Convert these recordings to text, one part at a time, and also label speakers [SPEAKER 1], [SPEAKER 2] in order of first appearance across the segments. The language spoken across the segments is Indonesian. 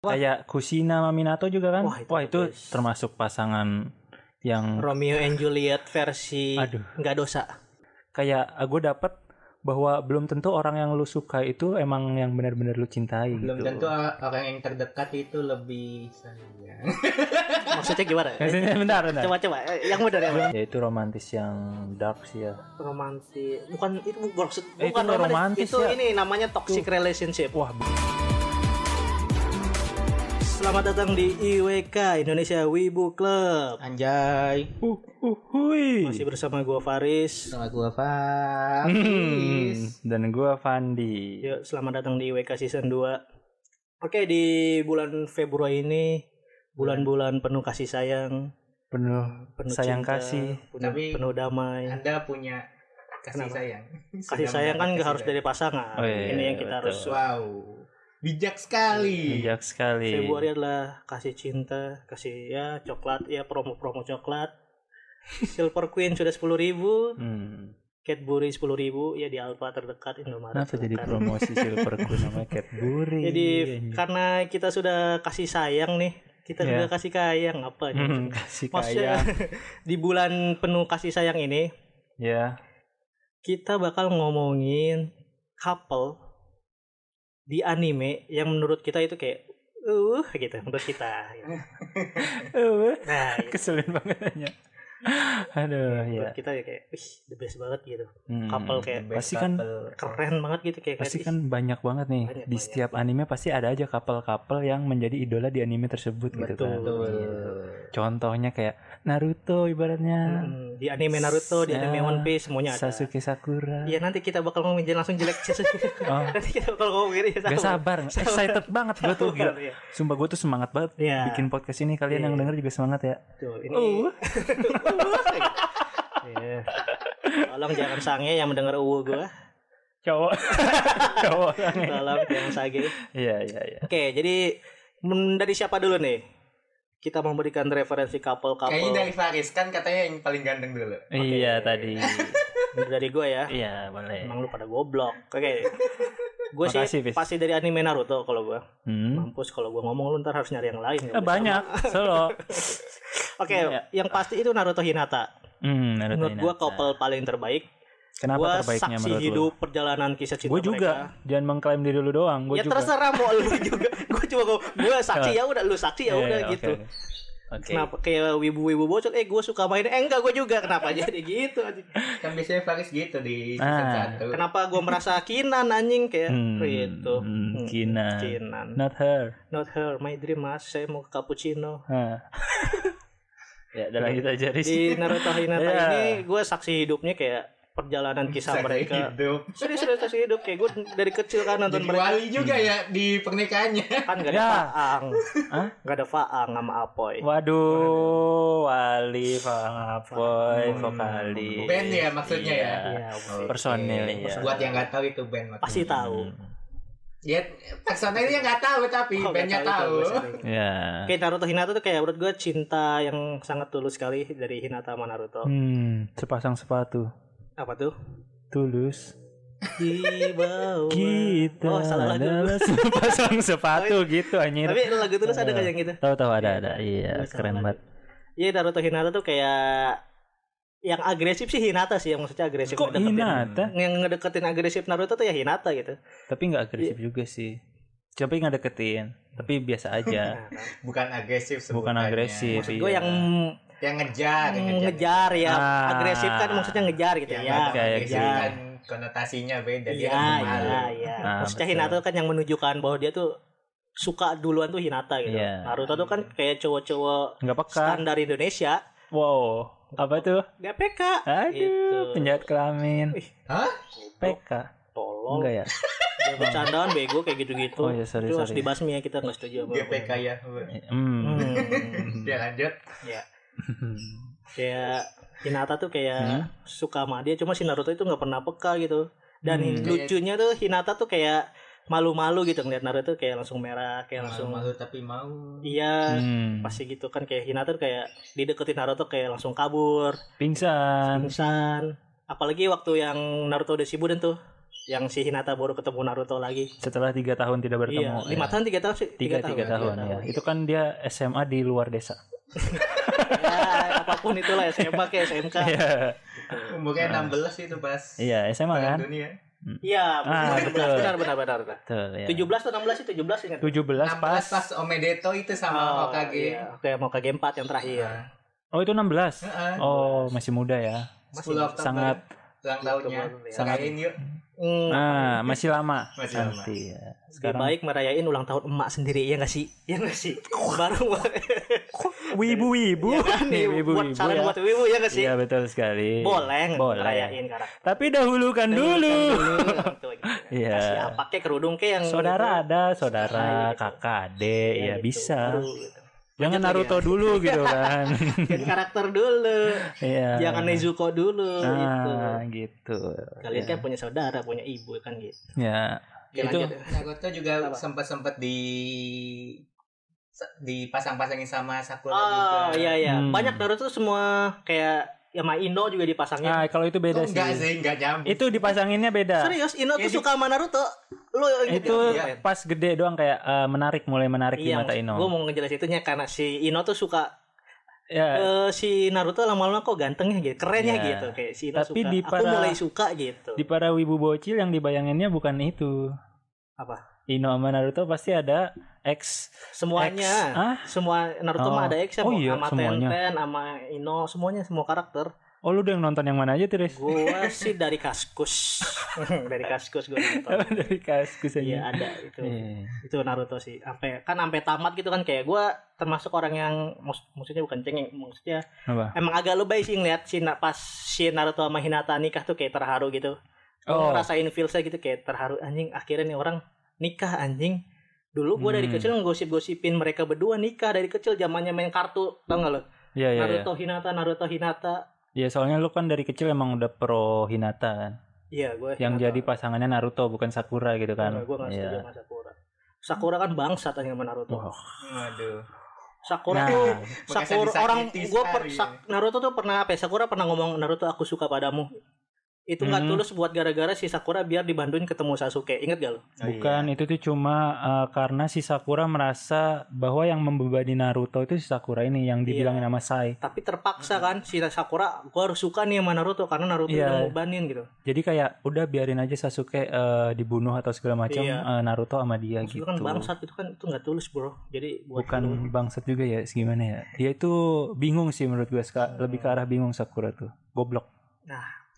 [SPEAKER 1] Wah.
[SPEAKER 2] Kayak Kusina sama Minato juga kan.
[SPEAKER 1] Wah,
[SPEAKER 2] Wah,
[SPEAKER 1] itu
[SPEAKER 2] itu,
[SPEAKER 1] bagus.
[SPEAKER 2] termasuk pasangan yang
[SPEAKER 1] Romeo and Juliet versi
[SPEAKER 2] Aduh.
[SPEAKER 1] nggak dosa.
[SPEAKER 2] kayak ah, gue dapet bahwa belum tentu orang yang lu suka itu emang yang benar-benar lu cintai
[SPEAKER 3] belum
[SPEAKER 2] gitu.
[SPEAKER 3] tentu orang yang terdekat itu lebih sayang
[SPEAKER 1] Maksudnya gimana?
[SPEAKER 2] Maksudnya Eh, bentar, bentar.
[SPEAKER 1] coba coba Eh, yang benar yang benar.
[SPEAKER 2] Ya itu romantis yang dark sih ya.
[SPEAKER 1] romantis bukan itu bu- maksud
[SPEAKER 2] Eh, itu
[SPEAKER 1] bukan
[SPEAKER 2] nggak romantis,
[SPEAKER 1] itu
[SPEAKER 2] ya.
[SPEAKER 1] ini namanya toxic relationship
[SPEAKER 2] Wah, bu-
[SPEAKER 1] selamat datang di IWK Indonesia Wibu Club
[SPEAKER 3] anjay
[SPEAKER 2] uh, uh, hui.
[SPEAKER 1] masih bersama gua Faris
[SPEAKER 3] sama gua
[SPEAKER 2] Hmm,
[SPEAKER 3] Faiz
[SPEAKER 2] Dan gua Fandi.
[SPEAKER 1] Yuk, selamat datang di IWK season 2 oke di bulan Februari ini bulan-bulan penuh kasih sayang
[SPEAKER 2] Penuh
[SPEAKER 1] penuh
[SPEAKER 2] sayang
[SPEAKER 1] cinta,
[SPEAKER 2] kasih.
[SPEAKER 1] penuh,
[SPEAKER 3] Tapi-
[SPEAKER 1] penuh damai
[SPEAKER 3] anda punya kasih
[SPEAKER 1] Kenapa?
[SPEAKER 3] sayang
[SPEAKER 1] kasih
[SPEAKER 3] Sudah
[SPEAKER 1] sayang kan
[SPEAKER 3] mendapat
[SPEAKER 1] nggak harus
[SPEAKER 3] kasih
[SPEAKER 1] dari pasangan
[SPEAKER 2] Oh, iya,
[SPEAKER 1] ini yang kita
[SPEAKER 2] betul.
[SPEAKER 1] harus
[SPEAKER 3] sayang. wow bijak sekali
[SPEAKER 2] Bijak sekali.
[SPEAKER 1] Februari adalah kasih cinta, kasih ya coklat, ya promo-promo coklat. Silver Queen sudah 10.000 ribu,
[SPEAKER 2] Hmm.
[SPEAKER 1] Cadbury 10.000 ya di Alfa terdekat Indomaret.
[SPEAKER 2] Kenapa jadi Iya,
[SPEAKER 1] terdekat.
[SPEAKER 2] promosi silver Queen sama Cadbury?
[SPEAKER 1] kan. Jadi
[SPEAKER 2] Anjing.
[SPEAKER 1] karena kita sudah kasih sayang nih, kita
[SPEAKER 2] Iya.
[SPEAKER 1] sudah kasih kayang apa nih?
[SPEAKER 2] Hmm, kasih kaya.
[SPEAKER 1] Maksudnya di bulan penuh kasih sayang ini
[SPEAKER 2] Ya.
[SPEAKER 1] kita bakal ngomongin couple di anime yang menurut kita itu kayak uh gitu menurut kita. gitu.
[SPEAKER 2] Eh,
[SPEAKER 1] Nah,
[SPEAKER 2] Keselin banget hanya. Aduh, ya.
[SPEAKER 1] Buat kita ya kayak wih the best banget gitu
[SPEAKER 2] Hmm.
[SPEAKER 1] Couple kayak-
[SPEAKER 3] Best
[SPEAKER 2] pasti kan
[SPEAKER 3] couple.
[SPEAKER 1] keren banget gitu kayak
[SPEAKER 2] pasti
[SPEAKER 1] kayak,
[SPEAKER 2] kan banyak banget nih
[SPEAKER 1] Banyak,
[SPEAKER 2] di
[SPEAKER 1] banyak.
[SPEAKER 2] setiap anime pasti ada aja couple-couple yang menjadi idola di anime tersebut gitu kan.
[SPEAKER 1] Betul.
[SPEAKER 2] Contohnya kayak Naruto
[SPEAKER 1] "Ih,
[SPEAKER 2] ibaratnya
[SPEAKER 1] mm, di anime Naruto di anime
[SPEAKER 2] Sa-
[SPEAKER 1] One Piece semuanya ada
[SPEAKER 2] Sasuke Sakura.
[SPEAKER 1] Iya nanti kita bakal ngomongin jangan langsung jelek Sasuke.
[SPEAKER 2] Oh,
[SPEAKER 1] nanti kita bakal ngomongin ya
[SPEAKER 2] gak sabar, excited banget gue tuh gila.
[SPEAKER 1] Iya.
[SPEAKER 2] Sumpah gue tuh semangat banget
[SPEAKER 1] Iya.
[SPEAKER 2] bikin podcast ini. Kalian
[SPEAKER 1] Iya.
[SPEAKER 2] yang denger juga semangat ya.
[SPEAKER 1] Tuh, ini.
[SPEAKER 2] Uh.
[SPEAKER 1] Iya. Tolong jangan sange yang mendengar uwu gua.
[SPEAKER 2] Cowok. Cowok.
[SPEAKER 1] Tolong jangan sage.
[SPEAKER 2] Iya, iya, iya.
[SPEAKER 1] Oke, jadi men- dari siapa dulu nih? Kita memberikan referensi couple-couple
[SPEAKER 3] kayaknya dari Faris kan katanya yang paling ganteng dulu
[SPEAKER 2] Iya tadi.
[SPEAKER 1] dari gua ya.
[SPEAKER 2] Iya, boleh.
[SPEAKER 1] Emang lu pada goblok. Oke. Gue
[SPEAKER 2] Makasih,
[SPEAKER 1] sih
[SPEAKER 2] Fis.
[SPEAKER 1] pasti dari anime Naruto kalau gue.
[SPEAKER 2] Hmm.
[SPEAKER 1] Mampus kalau gue ngomong lu ntar harus nyari yang lain.
[SPEAKER 2] Eh, banyak solo.
[SPEAKER 1] Oke,
[SPEAKER 2] Iya.
[SPEAKER 1] yang pasti itu Naruto Hinata.
[SPEAKER 2] Hmm, Naruto
[SPEAKER 1] menurut
[SPEAKER 2] Hinata.
[SPEAKER 1] gue couple paling terbaik.
[SPEAKER 2] Kenapa
[SPEAKER 1] Gue
[SPEAKER 2] terbaiknya
[SPEAKER 1] saksi
[SPEAKER 2] menurut
[SPEAKER 1] hidup perjalanan kisah
[SPEAKER 2] lu?
[SPEAKER 1] cinta
[SPEAKER 2] Gue juga.
[SPEAKER 1] mereka.
[SPEAKER 2] Jangan mengklaim diri lu doang. Gue
[SPEAKER 1] ya
[SPEAKER 2] juga.
[SPEAKER 1] terserah mau lu juga. Gue cuma gue saksi ya udah lu saksi ya
[SPEAKER 2] Iya,
[SPEAKER 1] udah
[SPEAKER 2] iya,
[SPEAKER 1] gitu.
[SPEAKER 2] oke. Oke.
[SPEAKER 1] Kenapa kayak wibu-wibu bocor? Eh gue suka main. Eh enggak gue juga. Kenapa jadi gitu? anjing?
[SPEAKER 3] kan biasanya Faris gitu di season
[SPEAKER 2] Ah.
[SPEAKER 3] satu
[SPEAKER 1] Kenapa gue merasa kinan anjing kayak
[SPEAKER 2] Hmm,
[SPEAKER 1] gitu.
[SPEAKER 2] hmm,
[SPEAKER 1] Hmm,
[SPEAKER 2] kinan.
[SPEAKER 1] Kinan.
[SPEAKER 2] Not her.
[SPEAKER 1] Not her, my dream mas. Saya mau ke cappuccino.
[SPEAKER 2] Hah. ya, udah lanjut aja Riz.
[SPEAKER 1] di Naruto Hinata
[SPEAKER 2] Iya.
[SPEAKER 1] ini gue saksi hidupnya kayak perjalanan kisah
[SPEAKER 3] Saksi
[SPEAKER 1] mereka
[SPEAKER 3] hidup
[SPEAKER 1] serius serius saksi hidup kayak gue dari kecil kan nonton
[SPEAKER 3] jadi
[SPEAKER 1] mereka
[SPEAKER 3] wali juga
[SPEAKER 2] Hmm.
[SPEAKER 3] ya di pernikahannya
[SPEAKER 1] kan gak ada
[SPEAKER 2] Ya.
[SPEAKER 1] faang
[SPEAKER 2] Hah?
[SPEAKER 1] gak ada faang sama apoy
[SPEAKER 2] Waduh, Wali, Pak Apoy,
[SPEAKER 1] Hmm.
[SPEAKER 2] vokalis.
[SPEAKER 3] Band ya maksudnya ya?
[SPEAKER 2] Iya.
[SPEAKER 1] Iya,
[SPEAKER 3] Oke.
[SPEAKER 2] Personil, iya.
[SPEAKER 3] buat yang nggak tahu itu band maksudnya.
[SPEAKER 1] pasti tahu
[SPEAKER 3] ya personilnya nggak tahu tapi
[SPEAKER 1] Oh, nggak
[SPEAKER 3] bandnya
[SPEAKER 1] itu
[SPEAKER 3] tahu
[SPEAKER 1] gua sering.
[SPEAKER 2] Ya.
[SPEAKER 1] Oke Naruto Hinata tuh kayak menurut gue cinta yang sangat tulus sekali dari Hinata sama Naruto.
[SPEAKER 2] Hmm, sepasang sepatu.
[SPEAKER 1] Apa tuh?
[SPEAKER 2] Tulus.
[SPEAKER 1] Di bawah.
[SPEAKER 2] Kita
[SPEAKER 1] Oh salah lagu.
[SPEAKER 2] adalah sepasang sepatu gitu anjir.
[SPEAKER 1] Tapi lagu tulus ada kan yang gitu?
[SPEAKER 2] Tahu-tahu ada ada. Iya,
[SPEAKER 1] Gua salah
[SPEAKER 2] keren
[SPEAKER 1] lagi.
[SPEAKER 2] banget.
[SPEAKER 1] Iya Naruto Hinata tuh kayak yang agresif sih Hinata sih yang maksudnya agresif
[SPEAKER 2] Kok
[SPEAKER 1] ngedeketin.
[SPEAKER 2] Hinata?
[SPEAKER 1] yang ngedeketin agresif Naruto tuh ya Hinata gitu.
[SPEAKER 2] Tapi nggak agresif juga sih. Tapi nggak deketin. Tapi biasa aja.
[SPEAKER 1] Nah, kan.
[SPEAKER 2] Iya.
[SPEAKER 3] bukan agresif
[SPEAKER 2] Bukan
[SPEAKER 3] sebutannya.
[SPEAKER 2] agresif.
[SPEAKER 1] Maksud gue
[SPEAKER 2] iya.
[SPEAKER 1] yang
[SPEAKER 3] yang ngejar Ah, yang
[SPEAKER 1] ngejar, ya
[SPEAKER 2] Ah.
[SPEAKER 1] agresif kan maksifnya ngejar gitu
[SPEAKER 3] yang
[SPEAKER 1] ya.
[SPEAKER 3] ngejar,
[SPEAKER 2] kayak
[SPEAKER 3] agresif
[SPEAKER 1] gitu.
[SPEAKER 3] kan konotasinya beda dia
[SPEAKER 1] Iya,
[SPEAKER 3] kan malu.
[SPEAKER 1] iya, iya.
[SPEAKER 2] Ah,
[SPEAKER 1] Maksudnya
[SPEAKER 2] betul.
[SPEAKER 1] Hinata kan yang menunjukkan bahwa dia tuh suka duluan tuh Hinata gitu.
[SPEAKER 2] Iya.
[SPEAKER 1] Naruto tuh kan kayak cowok-cowok
[SPEAKER 2] nggak peka.
[SPEAKER 1] standar Indonesia,
[SPEAKER 2] Wow, apa tuh?
[SPEAKER 1] gak PK.
[SPEAKER 2] Aduh,
[SPEAKER 1] Gitu.
[SPEAKER 2] penjahat kelamin.
[SPEAKER 1] Ih,
[SPEAKER 3] Hah?
[SPEAKER 2] PK.
[SPEAKER 1] Tolong,
[SPEAKER 2] Enggak ya?
[SPEAKER 1] dia bercandaan bego kayak gitu-gitu.
[SPEAKER 2] Oh, iya, sorry,
[SPEAKER 1] itu harus
[SPEAKER 2] sorry.
[SPEAKER 1] dibasmi ya kita nggak setuju apa.
[SPEAKER 3] GPK ya
[SPEAKER 2] Hmm.
[SPEAKER 3] dia Ya, lanjut
[SPEAKER 1] kayak Hinata tuh kayak
[SPEAKER 2] Hmm?
[SPEAKER 1] suka sama dia cuma si Naruto itu nggak pernah peka gitu dan
[SPEAKER 2] Hmm.
[SPEAKER 1] lucunya tuh Hinata tuh kayak malu-malu gitu ngeliat Naruto kayak langsung merah kayak Iya, langsung
[SPEAKER 3] malu tapi mau
[SPEAKER 1] iya
[SPEAKER 2] Hmm.
[SPEAKER 1] pasti gitu kan kayak Hinata tuh kayak dideketin Naruto kayak langsung kabur
[SPEAKER 2] Pingsan.
[SPEAKER 1] pingsan apalagi waktu yang Naruto udah Shippuden tuh yang si Hinata baru ketemu Naruto lagi.
[SPEAKER 2] Setelah tiga tahun tidak
[SPEAKER 1] iya,
[SPEAKER 2] bertemu.
[SPEAKER 1] lima
[SPEAKER 2] ya.
[SPEAKER 1] tahun, tiga tahun sih.
[SPEAKER 2] tiga tiga tahun ya. Itu kan dia SMA di luar desa.
[SPEAKER 1] Ya, apapun itulah SMA ke SMK.
[SPEAKER 2] Iya,
[SPEAKER 3] Umurnya 16 itu pas.
[SPEAKER 2] iya SMA
[SPEAKER 3] Perang
[SPEAKER 2] kan.
[SPEAKER 3] Dunia.
[SPEAKER 1] Iya,
[SPEAKER 2] Ah, betul.
[SPEAKER 1] benar benar benar benar.
[SPEAKER 2] Betul ya.
[SPEAKER 1] 17 atau 16 sih 17 ingat.
[SPEAKER 2] 17
[SPEAKER 3] 16 pas,
[SPEAKER 2] pas.
[SPEAKER 3] Omedeto itu sama Nah.
[SPEAKER 1] Oh,
[SPEAKER 3] Hokage.
[SPEAKER 1] iya. Oke, mau KG 4 yang terakhir.
[SPEAKER 2] Oh, itu 16.
[SPEAKER 3] Heeh.
[SPEAKER 2] Oh, masih muda ya.
[SPEAKER 3] 10 Oktober.
[SPEAKER 2] sangat
[SPEAKER 3] ulang tahunnya.
[SPEAKER 1] Oktober, ya.
[SPEAKER 2] Sangat-
[SPEAKER 3] Rayain yuk.
[SPEAKER 1] Hmm,
[SPEAKER 2] ah, masih lama.
[SPEAKER 3] Masih lama.
[SPEAKER 2] Nanti ya.
[SPEAKER 1] lebih
[SPEAKER 2] Sekarang
[SPEAKER 1] baik merayain ulang tahun emak sendiri ya nggak sih? Ya nggak sih? Baru
[SPEAKER 2] wibu-wibu.
[SPEAKER 1] Ya kan, nih, buat
[SPEAKER 2] Wibu-wibu
[SPEAKER 1] saran
[SPEAKER 2] ya.
[SPEAKER 1] buat wibu ya nggak sih?
[SPEAKER 2] Iya, betul sekali.
[SPEAKER 1] Boleh,
[SPEAKER 2] Boleh.
[SPEAKER 1] merayain karakter. gitu,
[SPEAKER 2] Tapi dahulukan dulu. Iya.
[SPEAKER 1] Iya. Siapa kek kerudung kek yang
[SPEAKER 2] Saudara ada,
[SPEAKER 1] Ah,
[SPEAKER 2] saudara,
[SPEAKER 1] iya, gitu.
[SPEAKER 2] kakak, adik, ya
[SPEAKER 1] gitu.
[SPEAKER 2] bisa.
[SPEAKER 1] Aduh, gitu.
[SPEAKER 2] Jangan
[SPEAKER 1] Lanjut lagi
[SPEAKER 2] Naruto dulu gitu kan.
[SPEAKER 1] Jadi karakter dulu.
[SPEAKER 2] Iya.
[SPEAKER 1] Jangan Nezuko dulu gitu.
[SPEAKER 2] Ah, gitu.
[SPEAKER 1] Kalian
[SPEAKER 2] ya.
[SPEAKER 1] kan punya saudara, punya ibu kan gitu.
[SPEAKER 2] ya.
[SPEAKER 1] Oke,
[SPEAKER 2] Itu-
[SPEAKER 1] lanjut.
[SPEAKER 3] Naruto juga
[SPEAKER 1] Apa?
[SPEAKER 3] sempat-sempat di dipasang-pasangin sama Sakura juga.
[SPEAKER 1] Oh, iya iya.
[SPEAKER 2] Hmm.
[SPEAKER 1] Banyak Naruto tuh semua kayak ya sama Ino juga dipasangin.
[SPEAKER 2] Ah, kalau itu
[SPEAKER 1] iya,
[SPEAKER 2] beda
[SPEAKER 3] Oh,
[SPEAKER 2] sih.
[SPEAKER 3] enggak sih, enggak nyambung.
[SPEAKER 2] Itu dipasanginnya beda.
[SPEAKER 1] Serius, Ino
[SPEAKER 3] Ya,
[SPEAKER 1] tuh
[SPEAKER 3] di-
[SPEAKER 1] suka sama Naruto. Lu gitu? ingetin
[SPEAKER 2] Eh, Itu
[SPEAKER 1] dia, Fen?
[SPEAKER 2] pas gede doang kayak eh, menarik mulai menarik di mata Ino.
[SPEAKER 1] Gue Iya, mau ngejelasin itunya karena si Ino tuh suka
[SPEAKER 2] Ya,
[SPEAKER 1] eh, si Naruto lama-lama kok gantengnya gitu, kerennya
[SPEAKER 2] Iya.
[SPEAKER 1] gitu kayak si Ino
[SPEAKER 2] Tapi
[SPEAKER 1] suka.
[SPEAKER 2] di
[SPEAKER 1] Aku
[SPEAKER 2] para-
[SPEAKER 1] mulai suka gitu.
[SPEAKER 2] di para wibu bocil yang dibayanginnya bukan itu.
[SPEAKER 1] Apa?
[SPEAKER 2] Ino sama Naruto pasti ada X
[SPEAKER 1] Semuanya.
[SPEAKER 2] X. Ah,
[SPEAKER 1] semua Naruto
[SPEAKER 2] Oh.
[SPEAKER 1] mah ada action
[SPEAKER 2] Oh iya,
[SPEAKER 1] sama
[SPEAKER 2] semuanya.
[SPEAKER 1] Tenten sama Ino semuanya semua karakter
[SPEAKER 2] oh lu udah yang nonton yang mana aja, Tris?
[SPEAKER 1] gua sih dari Kaskus dari Kaskus gua nonton
[SPEAKER 2] Dari Kaskus aja.
[SPEAKER 1] iya ada itu
[SPEAKER 2] Eh,
[SPEAKER 1] itu Naruto sih sampai kan sampai tamat gitu kan kayak gua termasuk orang yang mus- maksudnya bukan cengeng maksudnya
[SPEAKER 2] Apa?
[SPEAKER 1] emang agak lebay sih ngeliat si Na- pas si Naruto sama Hinata nikah tuh kayak terharu gitu
[SPEAKER 2] Oh,
[SPEAKER 1] Gua ngerasain feelsnya gitu kayak terharu anjing akhirnya nih orang nikah anjing dulu gua dari
[SPEAKER 2] Hmm.
[SPEAKER 1] kecil ngosip-gosipin mereka berdua nikah dari kecil zamannya main kartu tau gak lo
[SPEAKER 2] iya iya. iya.
[SPEAKER 1] Naruto Hinata Naruto Hinata
[SPEAKER 2] Ya soalnya lu kan dari kecil emang udah pro Hinata kan.
[SPEAKER 1] iya gue
[SPEAKER 2] Yang jadi pasangannya Naruto bukan Sakura gitu kan.
[SPEAKER 1] gue nggak setuju
[SPEAKER 2] Iya.
[SPEAKER 1] sama Sakura Sakura kan bangsat aja sama Naruto
[SPEAKER 2] Wah.
[SPEAKER 3] Aduh.
[SPEAKER 2] Nah.
[SPEAKER 1] Sakura tuh
[SPEAKER 3] Makasih
[SPEAKER 1] Sakura
[SPEAKER 3] disakiti
[SPEAKER 1] orang gue per
[SPEAKER 3] sekali.
[SPEAKER 1] Sak- Naruto tuh pernah apa ya, Sakura pernah ngomong Naruto aku suka padamu itu nggak
[SPEAKER 2] Hmm.
[SPEAKER 1] tulus buat gara-gara si Sakura biar dibantuin ketemu Sasuke inget gak lo
[SPEAKER 3] Oh, iya.
[SPEAKER 2] Bukan itu tuh cuma uh, karena si Sakura merasa bahwa yang membebani Naruto itu si Sakura ini yang
[SPEAKER 1] Iya.
[SPEAKER 2] dibilangin nama Sai.
[SPEAKER 1] tapi terpaksa kan si Sakura gue harus suka nih sama Naruto karena Naruto
[SPEAKER 2] Iya.
[SPEAKER 1] udah ngebanin gitu
[SPEAKER 2] Jadi kayak udah biarin aja Sasuke uh, dibunuh atau segala macam
[SPEAKER 1] Iya.
[SPEAKER 2] uh, Naruto sama dia
[SPEAKER 1] Maksud lu
[SPEAKER 2] gitu.
[SPEAKER 1] kan bangsat itu kan itu nggak tulus bro jadi buat lu-
[SPEAKER 2] Bukan bangsat juga ya, gimana ya? Dia itu bingung sih menurut gue, Ska. lebih ke arah bingung Sakura tuh. Goblok.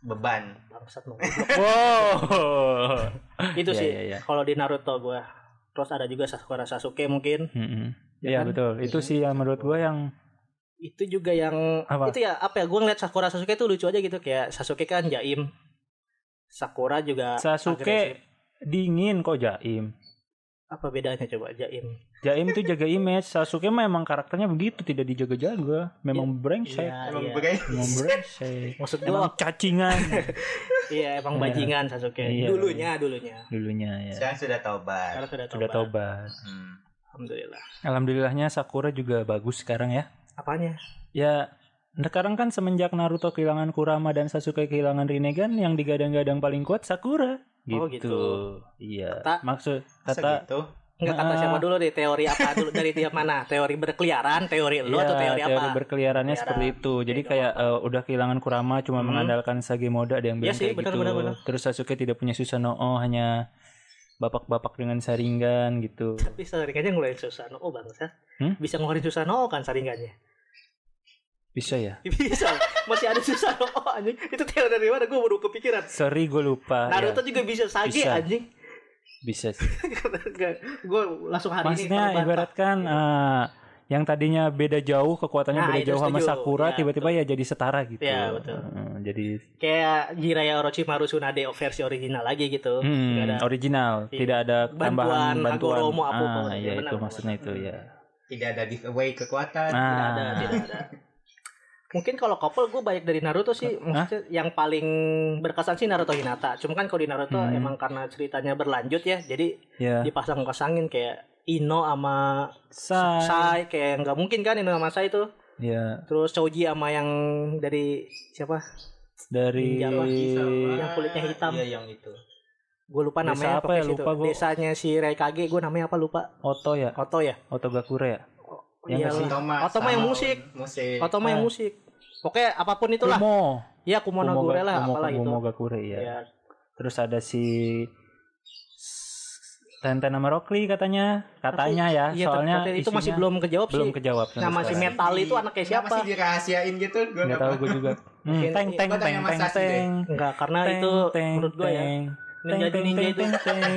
[SPEAKER 3] beban.
[SPEAKER 1] bangsat lu.
[SPEAKER 2] wow.
[SPEAKER 1] itu
[SPEAKER 2] Iya,
[SPEAKER 1] sih
[SPEAKER 2] iya, iya.
[SPEAKER 1] kalau di Naruto gue terus ada juga Sakura Sasuke mungkin
[SPEAKER 2] Mm-mm.
[SPEAKER 1] Ya
[SPEAKER 2] Iya
[SPEAKER 1] kan?
[SPEAKER 2] betul. Itu
[SPEAKER 3] Iya.
[SPEAKER 2] sih yang menurut gue yang
[SPEAKER 1] itu juga yang
[SPEAKER 2] Apa?
[SPEAKER 1] itu ya apa ya gue ngeliat Sakura Sasuke itu lucu aja gitu kayak Sasuke kan jaim Sakura juga
[SPEAKER 2] Sasuke
[SPEAKER 1] agresif.
[SPEAKER 2] dingin kok Jaim.
[SPEAKER 1] apa bedanya coba jaim
[SPEAKER 2] Jaim tuh jaga image. Sasuke memang karakternya begitu, tidak dijaga-jaga. Memang brengsek.
[SPEAKER 1] iya
[SPEAKER 3] Emang
[SPEAKER 1] iya
[SPEAKER 3] begai.
[SPEAKER 2] Emang brengsek.
[SPEAKER 1] maksud gue
[SPEAKER 2] Emang cacingan
[SPEAKER 1] iya emang
[SPEAKER 2] Iya.
[SPEAKER 1] bajingan Sasuke
[SPEAKER 2] Iya.
[SPEAKER 1] dulunya dulunya
[SPEAKER 2] dulunya ya.
[SPEAKER 3] Sekarang sudah tobat.
[SPEAKER 1] sekarang sudah
[SPEAKER 2] Sudah
[SPEAKER 1] tobat.
[SPEAKER 2] tobat.
[SPEAKER 3] Hmm.
[SPEAKER 1] alhamdulillah
[SPEAKER 2] Alhamdulillahnya Sakura juga bagus sekarang ya.
[SPEAKER 1] apanya
[SPEAKER 2] Ya sekarang kan semenjak Naruto kehilangan Kurama dan Sasuke kehilangan Rinnegan yang digadang-gadang paling kuat Sakura. Gitu.
[SPEAKER 1] Oh, gitu.
[SPEAKER 2] Iya.
[SPEAKER 1] Kata-
[SPEAKER 2] Maksud
[SPEAKER 3] Masa
[SPEAKER 2] kata
[SPEAKER 3] gitu?
[SPEAKER 1] Enggak kata
[SPEAKER 2] Nah.
[SPEAKER 1] siapa dulu deh teori apa dulu dari tiap mana teori berkeliaran teori lu
[SPEAKER 2] Iya,
[SPEAKER 1] atau teori, apa
[SPEAKER 2] berkeliarannya
[SPEAKER 1] Berkeliaran.
[SPEAKER 2] seperti itu. Jadi
[SPEAKER 1] Kayak
[SPEAKER 2] kayak eh, udah kehilangan Kurama cuma
[SPEAKER 1] Hmm.
[SPEAKER 2] mengandalkan Sage Moda ada yang
[SPEAKER 1] Iya
[SPEAKER 2] bilang
[SPEAKER 1] sih,
[SPEAKER 2] kayak
[SPEAKER 1] benar,
[SPEAKER 2] gitu.
[SPEAKER 1] benar, benar.
[SPEAKER 2] Terus Sasuke tidak punya Susanoo hanya bapak-bapak dengan Sharingan gitu.
[SPEAKER 1] tapi saringannya ngeluarin Susano oh bangsa
[SPEAKER 2] Hmm?
[SPEAKER 1] bisa ngeluarin Susano kan saringannya
[SPEAKER 2] Bisa ya?
[SPEAKER 1] bisa masih ada susah oh anjing itu teori dari mana gue baru kepikiran
[SPEAKER 2] Sorry gue lupa.
[SPEAKER 1] Naruto
[SPEAKER 2] Ya,
[SPEAKER 1] juga bisa sage
[SPEAKER 2] Bisa.
[SPEAKER 1] anjing
[SPEAKER 2] bisa sih.
[SPEAKER 1] gue langsung hari
[SPEAKER 2] Maksudnya
[SPEAKER 1] ini terbantah. Iya.
[SPEAKER 2] ibaratkan eh, yang tadinya beda jauh kekuatannya
[SPEAKER 1] Nah,
[SPEAKER 2] beda
[SPEAKER 1] itu
[SPEAKER 2] jauh sama
[SPEAKER 1] setuju.
[SPEAKER 2] Sakura
[SPEAKER 1] Ya,
[SPEAKER 2] tiba-tiba ya jadi setara gitu.
[SPEAKER 1] Ya, betul.
[SPEAKER 2] Eh, jadi
[SPEAKER 1] kayak Jiraiya Orochimaru Tsunade versi original lagi gitu
[SPEAKER 2] hmm,
[SPEAKER 1] Nggak ada
[SPEAKER 2] original,
[SPEAKER 1] Iya.
[SPEAKER 2] tidak ada tambahan
[SPEAKER 1] Bantuan,
[SPEAKER 2] bantuan.
[SPEAKER 1] Hagoromo, apa pun.
[SPEAKER 2] ah, ya
[SPEAKER 1] Iya, benar, Iya.
[SPEAKER 2] itu
[SPEAKER 1] benar,
[SPEAKER 2] maksudnya
[SPEAKER 1] benar.
[SPEAKER 2] itu ya.
[SPEAKER 3] Tidak ada giveaway kekuatan.
[SPEAKER 2] Nah.
[SPEAKER 1] tidak ada tidak ada mungkin kalau couple gue banyak dari Naruto sih maksudnya yang paling berkesan sih Naruto Hinata cuma kan kalau di Naruto
[SPEAKER 2] Hmm.
[SPEAKER 1] emang karena ceritanya berlanjut ya jadi
[SPEAKER 2] Ya.
[SPEAKER 1] dipasang-pasangin kayak Ino sama
[SPEAKER 2] Sai.
[SPEAKER 1] Sai kayak nggak mungkin kan Ino sama Sai itu
[SPEAKER 2] Ya.
[SPEAKER 1] terus Choji sama yang dari siapa
[SPEAKER 2] dari
[SPEAKER 1] Iya, Ninja Laki sama- Yang kulitnya hitam.
[SPEAKER 3] Iya, yang itu.
[SPEAKER 1] gue lupa
[SPEAKER 2] Desa
[SPEAKER 1] namanya
[SPEAKER 2] apa
[SPEAKER 1] pokoknya
[SPEAKER 2] ya?
[SPEAKER 1] situ.
[SPEAKER 2] Lupa gua.
[SPEAKER 1] desanya si Raikage gue namanya apa lupa
[SPEAKER 2] Oto ya,
[SPEAKER 1] Oto ya
[SPEAKER 2] Oto Gakure ya. Yang
[SPEAKER 1] Iyalah.
[SPEAKER 2] kasih-
[SPEAKER 3] Otoma,
[SPEAKER 1] Otoma yang
[SPEAKER 3] sama
[SPEAKER 1] musik.
[SPEAKER 3] Musik.
[SPEAKER 1] Oto mah yang
[SPEAKER 2] Ah.
[SPEAKER 1] musik pokoknya apapun itulah
[SPEAKER 2] Kumo,
[SPEAKER 1] ya Kumono
[SPEAKER 2] Kumo,
[SPEAKER 1] Gure
[SPEAKER 2] Ga-
[SPEAKER 1] lah
[SPEAKER 2] Kumo,
[SPEAKER 1] apalah
[SPEAKER 2] Kumo
[SPEAKER 1] itu
[SPEAKER 2] Gakure ya.
[SPEAKER 1] ya
[SPEAKER 2] Terus ada si Tenten sama Rockly katanya, katanya ya.
[SPEAKER 1] Iya, tapi-
[SPEAKER 2] soalnya
[SPEAKER 1] tapi itu
[SPEAKER 2] isinya
[SPEAKER 1] masih belum kejawab
[SPEAKER 2] belum
[SPEAKER 1] sih Nah,
[SPEAKER 2] kejawab. sampai
[SPEAKER 1] Nama si
[SPEAKER 2] sekarang.
[SPEAKER 1] Met- metal itu anaknya siapa?
[SPEAKER 3] Iya. Masih dirahasiain gitu, gue
[SPEAKER 2] Nggak tahu gue juga. Hmm,
[SPEAKER 1] Mungkin-
[SPEAKER 2] teng teng
[SPEAKER 3] Gua
[SPEAKER 2] teng
[SPEAKER 3] tanya
[SPEAKER 2] teng
[SPEAKER 3] Mas Sasi deh.
[SPEAKER 2] teng.
[SPEAKER 1] enggak karena
[SPEAKER 2] Teng,
[SPEAKER 1] Nah, itu
[SPEAKER 2] teng,
[SPEAKER 1] menurut gue ya
[SPEAKER 2] teng.
[SPEAKER 1] menjadi
[SPEAKER 2] Teng,
[SPEAKER 1] ninja
[SPEAKER 2] teng,
[SPEAKER 1] itu Iya,
[SPEAKER 2] teng, teng.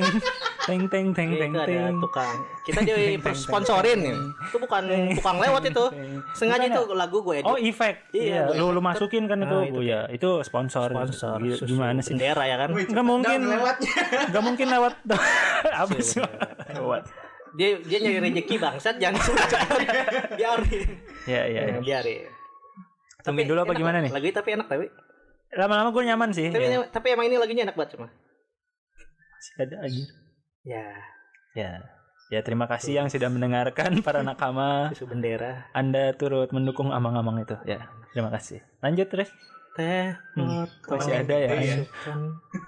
[SPEAKER 2] Teng teng teng
[SPEAKER 1] itu
[SPEAKER 2] teng
[SPEAKER 1] ada
[SPEAKER 2] teng.
[SPEAKER 1] tukang kita
[SPEAKER 2] Teng,
[SPEAKER 1] jadi
[SPEAKER 2] teng,
[SPEAKER 1] sponsorin
[SPEAKER 2] teng,
[SPEAKER 1] ya
[SPEAKER 2] teng.
[SPEAKER 1] itu bukan tukang lewat itu
[SPEAKER 2] Teng.
[SPEAKER 1] sengaja
[SPEAKER 2] Bukan
[SPEAKER 1] itu lagu gue
[SPEAKER 2] Oh, efek.
[SPEAKER 1] Iya,
[SPEAKER 2] Iya, lu lu masukin kan
[SPEAKER 1] Nah,
[SPEAKER 2] itu.
[SPEAKER 1] itu
[SPEAKER 2] Bu ya. Itu sponsor.
[SPEAKER 1] sponsor
[SPEAKER 2] Gila,
[SPEAKER 1] susu
[SPEAKER 2] Gimana sih?
[SPEAKER 1] bendera ya kan
[SPEAKER 2] Nggak mungkin.
[SPEAKER 3] lewatnya.
[SPEAKER 2] Gak mungkin lewat apa
[SPEAKER 1] Iya,
[SPEAKER 2] sih? Lewat.
[SPEAKER 1] dia dia nyari rezeki bangsat jangan biarin
[SPEAKER 2] Ya ya. ya.
[SPEAKER 1] biarin
[SPEAKER 2] Tungguin dulu apa
[SPEAKER 1] enak
[SPEAKER 2] gimana nih?
[SPEAKER 1] lagu tapi enak tapi
[SPEAKER 2] Lama-lama gue nyaman sih.
[SPEAKER 1] tapi,
[SPEAKER 2] Ya.
[SPEAKER 1] tapi emang ini lagunya enak banget cuma
[SPEAKER 2] Masih ada aja.
[SPEAKER 1] ya
[SPEAKER 2] Ya. Ya terima kasih yang sudah mendengarkan para nakama.
[SPEAKER 1] susu bendera
[SPEAKER 2] Anda turut mendukung amang-amang itu. Ya. Terima kasih. Lanjut terus.
[SPEAKER 1] teh
[SPEAKER 2] Hmm,
[SPEAKER 1] motor
[SPEAKER 2] masih ada ya?
[SPEAKER 3] Iya.
[SPEAKER 1] Masukkan.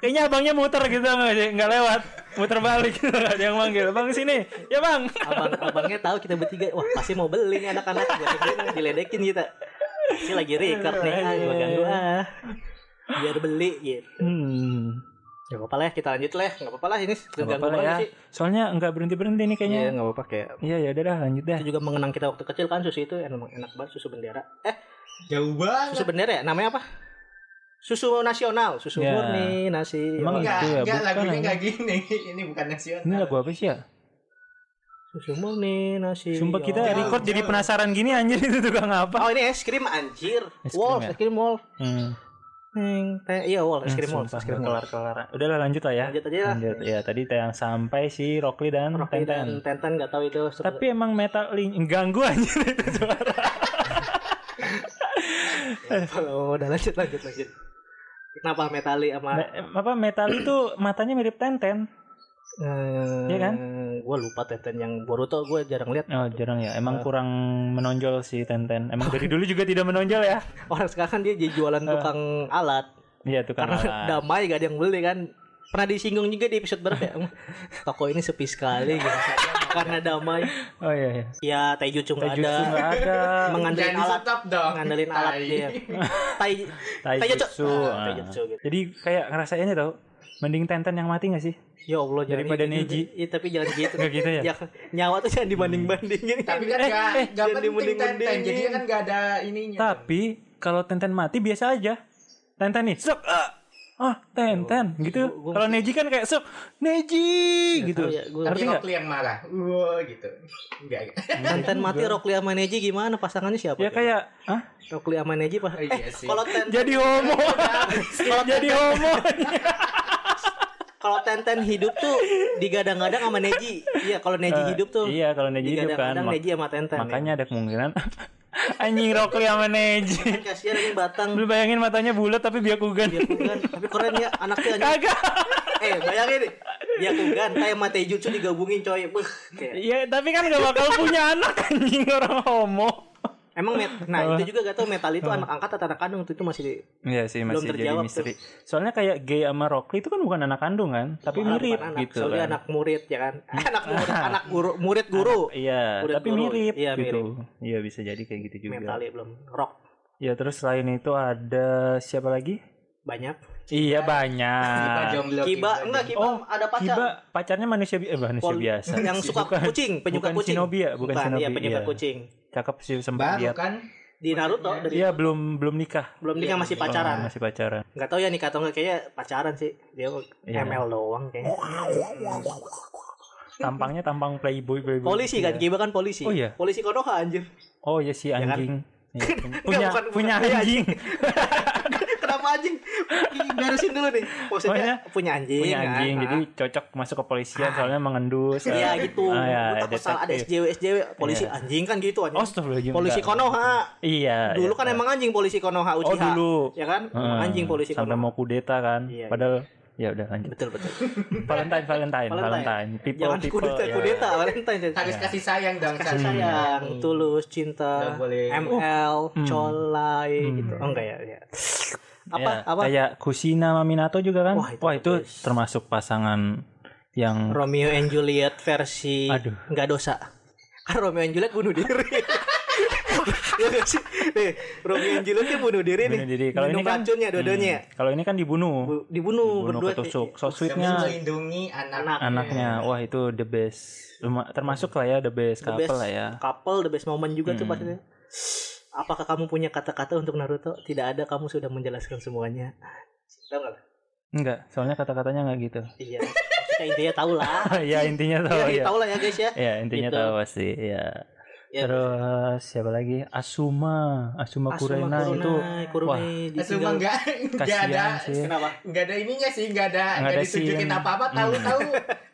[SPEAKER 2] Kayaknya abangnya muter gitu nggak sih? Nggak lewat. Muter balik. gitu, Nggak Ada yang manggil. Bang sini. Ya bang.
[SPEAKER 1] abang abangnya tahu kita bertiga wah pasti mau beli nih anak-anak gue kira diledekin kita si lagi record nih ah gue ganggu ah biar beli gitu
[SPEAKER 2] Hmm.
[SPEAKER 1] Gak apa-apa lah kita lanjut lah Gak apa-apa lah ini
[SPEAKER 2] Gak apa-apa lah ya.
[SPEAKER 1] banget sih
[SPEAKER 2] Soalnya nggak berhenti berhenti nih kayaknya.
[SPEAKER 1] Iya gak apa-apa kayak
[SPEAKER 2] Iya ya udah dah lanjut dah.
[SPEAKER 1] Itu juga mengenang kita waktu kecil kan susu itu emang enak banget susu bendera Eh
[SPEAKER 3] Jauh banget.
[SPEAKER 1] susu bendera ya namanya apa? Susu nasional Susu
[SPEAKER 2] Ya.
[SPEAKER 1] murni nasi
[SPEAKER 2] Emang
[SPEAKER 1] Wah,
[SPEAKER 3] Enggak,
[SPEAKER 2] Itu ya,
[SPEAKER 3] enggak,
[SPEAKER 2] bukan,
[SPEAKER 3] lagunya
[SPEAKER 2] anjing.
[SPEAKER 3] enggak gini. Ini bukan nasional.
[SPEAKER 2] Ini lagu apa sih ya?
[SPEAKER 1] Susu murni nasi
[SPEAKER 2] Sumpah kita
[SPEAKER 1] Oh,
[SPEAKER 2] record jadi penasaran gini anjir itu tukang apa?
[SPEAKER 1] Oh ini es krim anjir
[SPEAKER 2] Es krim
[SPEAKER 1] Wolf
[SPEAKER 2] ya?
[SPEAKER 1] es krim wolf
[SPEAKER 2] Hmm.
[SPEAKER 1] Neng, teh- Iya wolf es krim wolf
[SPEAKER 2] Sumpah,
[SPEAKER 1] Es krim
[SPEAKER 2] nggak
[SPEAKER 1] wolf
[SPEAKER 2] kelar-kelar. Udahlah lanjut lah ya.
[SPEAKER 1] Lanjut aja lah
[SPEAKER 2] Lanjut. Ya tadi yang sampai si Rockly dan
[SPEAKER 1] Rocky dan
[SPEAKER 2] Tenten.
[SPEAKER 1] Tenten gak tahu itu seru-
[SPEAKER 2] Tapi emang metal link ganggu anjir itu suara.
[SPEAKER 1] Oh udah lanjut lanjut lanjut Kenapa Metali sama
[SPEAKER 2] Me- apa metal itu matanya mirip Tenten?
[SPEAKER 1] eh,
[SPEAKER 2] Iya kan?
[SPEAKER 1] Gue lupa Tenten yang Boruto gue jarang lihat
[SPEAKER 2] Oh jarang ya. Emang kurang menonjol si Tenten. Emang dari dulu juga tidak menonjol ya.
[SPEAKER 1] Orang sekarang kan dia jadi jualan tukang alat
[SPEAKER 2] Iya Eh. tukang
[SPEAKER 1] karena
[SPEAKER 2] alat.
[SPEAKER 1] damai gak ada yang beli kan pernah disinggung juga di episode berapa ya toko ini sepi sekali gitu karena damai
[SPEAKER 2] Oh iya iya.
[SPEAKER 1] ya Taijutsu nggak ada
[SPEAKER 2] Taijutsu nggak ada.
[SPEAKER 1] mengandalkan
[SPEAKER 3] Jangan
[SPEAKER 1] alat
[SPEAKER 3] disetop dong. Nah, iya.
[SPEAKER 1] mengandalkan alat
[SPEAKER 3] Tai.
[SPEAKER 2] iya.
[SPEAKER 1] dia tai
[SPEAKER 2] Taijutsu.
[SPEAKER 1] Ah,
[SPEAKER 2] ah.
[SPEAKER 1] Taijutsu gitu.
[SPEAKER 2] Jadi kayak ngerasainnya tau. Mending Tenten yang mati gak sih?
[SPEAKER 1] ya Allah jangan
[SPEAKER 2] Daripada
[SPEAKER 1] gitu.
[SPEAKER 2] Neji.
[SPEAKER 1] Iya, tapi jangan gitu
[SPEAKER 2] Gak gitu ya?
[SPEAKER 1] Jangan- nyawa tuh jangan dibanding bandingin
[SPEAKER 3] Tapi kan
[SPEAKER 2] Eh,
[SPEAKER 3] enggak enggak
[SPEAKER 1] jangan
[SPEAKER 3] penting
[SPEAKER 1] dimunding-mundingin.
[SPEAKER 3] tenten. Jadi kan enggak ada ininya.
[SPEAKER 2] Tapi kalau Tenten mati biasa aja. Tenten nih, sok. ah. Ah, Tenten gitu.
[SPEAKER 1] Gua- gua-
[SPEAKER 2] Kalau Neji kan kayak sok, Neji gitu.
[SPEAKER 1] tahu ya, gua-
[SPEAKER 2] Ngerti
[SPEAKER 3] Tapi
[SPEAKER 2] nggak?
[SPEAKER 3] Rockly yang marah. Wah, gitu. Enggak.
[SPEAKER 1] Tenten mati
[SPEAKER 3] Iya.
[SPEAKER 1] Rockli sama Neji gimana pasangannya siapa
[SPEAKER 2] Ya kayak, ah,
[SPEAKER 1] Rockli sama Neji pas
[SPEAKER 3] Oh, iya
[SPEAKER 1] eh
[SPEAKER 3] sih.
[SPEAKER 1] kalau Tenten
[SPEAKER 2] jadi homo.
[SPEAKER 1] Iya.
[SPEAKER 2] jadi homo.
[SPEAKER 1] kalau Tenten hidup tuh digadang-gadang sama Neji iya kalau Neji hidup tuh
[SPEAKER 2] Iya, kalau Neji hidup kan.
[SPEAKER 1] digadang-gadang
[SPEAKER 2] mak-
[SPEAKER 1] Neji sama Tenten ya.
[SPEAKER 2] makanya ada kemungkinan anjing Rockly sama Neji.
[SPEAKER 1] Kan kasihan ini batang
[SPEAKER 2] Lu bayangin matanya bulat tapi biakugan.
[SPEAKER 1] dia Iya, kugan tapi keren ya anaknya anjing.
[SPEAKER 2] Kagak.
[SPEAKER 1] eh bayangin nih dia kugan kayak mate jutsu digabungin coy Beuh, kayak.
[SPEAKER 2] Iya, tapi kan gak bakal punya anak anjing orang homo.
[SPEAKER 1] emang met nah itu juga gak tau metal itu anak angkat atau anak kandung itu, itu masih di-
[SPEAKER 2] Iya sih
[SPEAKER 1] Belum
[SPEAKER 2] masih jadi
[SPEAKER 1] terjawab
[SPEAKER 2] misteri. Soalnya kayak gay sama Rockly itu kan bukan anak kandung kan, tapi
[SPEAKER 1] bukan
[SPEAKER 2] mirip
[SPEAKER 1] anak,
[SPEAKER 2] gitu
[SPEAKER 1] soalnya
[SPEAKER 2] kan. Hmm.
[SPEAKER 1] anak murid ya kan anak murid anak guru murid guru
[SPEAKER 2] Iya,
[SPEAKER 1] Murid
[SPEAKER 2] tapi
[SPEAKER 1] guru.
[SPEAKER 2] mirip
[SPEAKER 1] Iya,
[SPEAKER 2] gitu. Iya bisa jadi kayak gitu juga.
[SPEAKER 1] metal ya belum rock
[SPEAKER 2] Ya terus selain itu ada siapa lagi?
[SPEAKER 1] banyak
[SPEAKER 2] Iya
[SPEAKER 3] Kiba
[SPEAKER 2] banyak.
[SPEAKER 3] jomblo.
[SPEAKER 1] kiba enggak kiba
[SPEAKER 2] Oh,
[SPEAKER 1] ada pacar
[SPEAKER 2] Kiba pacarnya manusia bi- eh, manusia
[SPEAKER 1] Pol-
[SPEAKER 2] biasa.
[SPEAKER 1] yang suka
[SPEAKER 2] Bukan.
[SPEAKER 1] kucing penyuka
[SPEAKER 2] bukan
[SPEAKER 1] kucing
[SPEAKER 2] shinobi ya, bukan, shinobi.
[SPEAKER 1] iya penyuka
[SPEAKER 2] iya.
[SPEAKER 1] kucing
[SPEAKER 2] Cakep sih sempat
[SPEAKER 3] Baru
[SPEAKER 2] lihat.
[SPEAKER 3] kan.
[SPEAKER 1] di Naruto dari
[SPEAKER 2] Iya belum belum nikah.
[SPEAKER 1] belum nikah masih pacaran
[SPEAKER 2] Oh, masih pacaran.
[SPEAKER 1] nggak tahu ya nikah atau nggak kayaknya pacaran sih dia
[SPEAKER 2] Iya.
[SPEAKER 1] ML doang kayaknya
[SPEAKER 2] Tampangnya tampang playboy playboy.
[SPEAKER 1] polisi kan Kiba kan polisi
[SPEAKER 2] Oh, iya.
[SPEAKER 1] polisi Konoha anjir
[SPEAKER 2] Oh ya si
[SPEAKER 1] Ya kan?
[SPEAKER 2] anjing. Iya, punya
[SPEAKER 1] bukan- bukan.
[SPEAKER 2] punya
[SPEAKER 1] Iya,
[SPEAKER 2] anjing.
[SPEAKER 1] kenapa anjing garusin dulu nih maksudnya punya anjing
[SPEAKER 2] punya
[SPEAKER 1] kan?
[SPEAKER 2] anjing
[SPEAKER 1] Ah.
[SPEAKER 2] jadi cocok masuk ke polisian soalnya mengendus
[SPEAKER 1] Iya
[SPEAKER 2] eh.
[SPEAKER 1] gitu.
[SPEAKER 2] Ah, ya,
[SPEAKER 1] Gua takut salah ada
[SPEAKER 2] detektif.
[SPEAKER 1] SJW SJW polisi anjing kan gitu
[SPEAKER 2] Oh,
[SPEAKER 1] anjing.
[SPEAKER 2] Astagfirullahaladzim,
[SPEAKER 1] polisi
[SPEAKER 2] enggak.
[SPEAKER 1] Konoha.
[SPEAKER 2] iya
[SPEAKER 1] Dulu
[SPEAKER 2] iya.
[SPEAKER 1] kan emang anjing polisi Konoha Uchiha.
[SPEAKER 2] oh dulu
[SPEAKER 1] Ya kan? Emang
[SPEAKER 2] Heeh.
[SPEAKER 1] anjing polisi
[SPEAKER 2] sampai
[SPEAKER 1] Konoha.
[SPEAKER 2] mau kudeta kan
[SPEAKER 1] Iya, iya.
[SPEAKER 2] padahal ya udah lanjut
[SPEAKER 1] Betul betul.
[SPEAKER 2] Valentine Valentine Valentine people
[SPEAKER 1] Jangan
[SPEAKER 2] people
[SPEAKER 1] kudeta
[SPEAKER 2] ya. Hmm.
[SPEAKER 1] kudeta Valentine.
[SPEAKER 3] Harus
[SPEAKER 2] Iya.
[SPEAKER 3] kasih sayang dong. Hmm.
[SPEAKER 1] Kasih sayang, tulus, cinta,
[SPEAKER 3] Nggak boleh.
[SPEAKER 1] ML, colai
[SPEAKER 2] Oh. Hmm.
[SPEAKER 1] gitu. Oh enggak ya, ya. Apa?
[SPEAKER 2] Ya,
[SPEAKER 1] apa?
[SPEAKER 2] Kayak Kushina sama Minato juga kan?
[SPEAKER 1] Wah,
[SPEAKER 2] Wah
[SPEAKER 1] itu
[SPEAKER 2] itu,
[SPEAKER 1] bagus.
[SPEAKER 2] termasuk pasangan yang
[SPEAKER 1] Romeo and Juliet versi
[SPEAKER 2] aduh.
[SPEAKER 1] nggak dosa. Kan Romeo and Juliet bunuh diri. Iya nggak sih? Nih, Romeo and Juliet kan bunuh diri nih.
[SPEAKER 2] bunuh diri. Kalau ini
[SPEAKER 1] Minum
[SPEAKER 2] kan
[SPEAKER 1] racunnya dua-duanya.
[SPEAKER 2] Hmm, kalau ini kan dibunuh.
[SPEAKER 1] Bu- dibunuh,
[SPEAKER 2] dibunuh
[SPEAKER 1] berdua.
[SPEAKER 2] ketusuk. So
[SPEAKER 3] Demi
[SPEAKER 2] sweetnya
[SPEAKER 3] melindungi anak
[SPEAKER 2] anaknya. Wah, itu the best. Luma- termasuk lah ya Iya. the best
[SPEAKER 1] The
[SPEAKER 2] couple
[SPEAKER 1] best.
[SPEAKER 2] lah ya.
[SPEAKER 1] Couple the best moment juga tuh
[SPEAKER 2] Hmm.
[SPEAKER 1] pas itu. Apakah kamu punya kata-kata untuk Naruto? Tidak ada, kamu sudah menjelaskan semuanya. Tahu nggak?
[SPEAKER 2] Enggak, soalnya kata-katanya enggak gitu.
[SPEAKER 1] Iya. Kita intinya tahu lah.
[SPEAKER 2] ya intinya tahu
[SPEAKER 1] Iya,
[SPEAKER 2] ya.
[SPEAKER 1] tahu lah ya guys ya.
[SPEAKER 2] Ya, intinya
[SPEAKER 1] Gitu.
[SPEAKER 2] tahu pasti, ya.
[SPEAKER 1] Ya.
[SPEAKER 2] Terus siapa lagi? Asuma, Asuma,
[SPEAKER 1] Asuma
[SPEAKER 2] Kurena
[SPEAKER 1] Kurunai,
[SPEAKER 2] itu
[SPEAKER 1] Kurunai
[SPEAKER 3] Cuma
[SPEAKER 1] ditinggal.
[SPEAKER 3] nggak nggak ada
[SPEAKER 2] kasihan sih.
[SPEAKER 1] Kenapa?
[SPEAKER 3] nggak ada ininya sih nggak ada
[SPEAKER 2] Nggak
[SPEAKER 3] nggak
[SPEAKER 2] ada
[SPEAKER 3] ditunjukin
[SPEAKER 2] scene. Hmm.
[SPEAKER 3] apa-apa tahu-tahu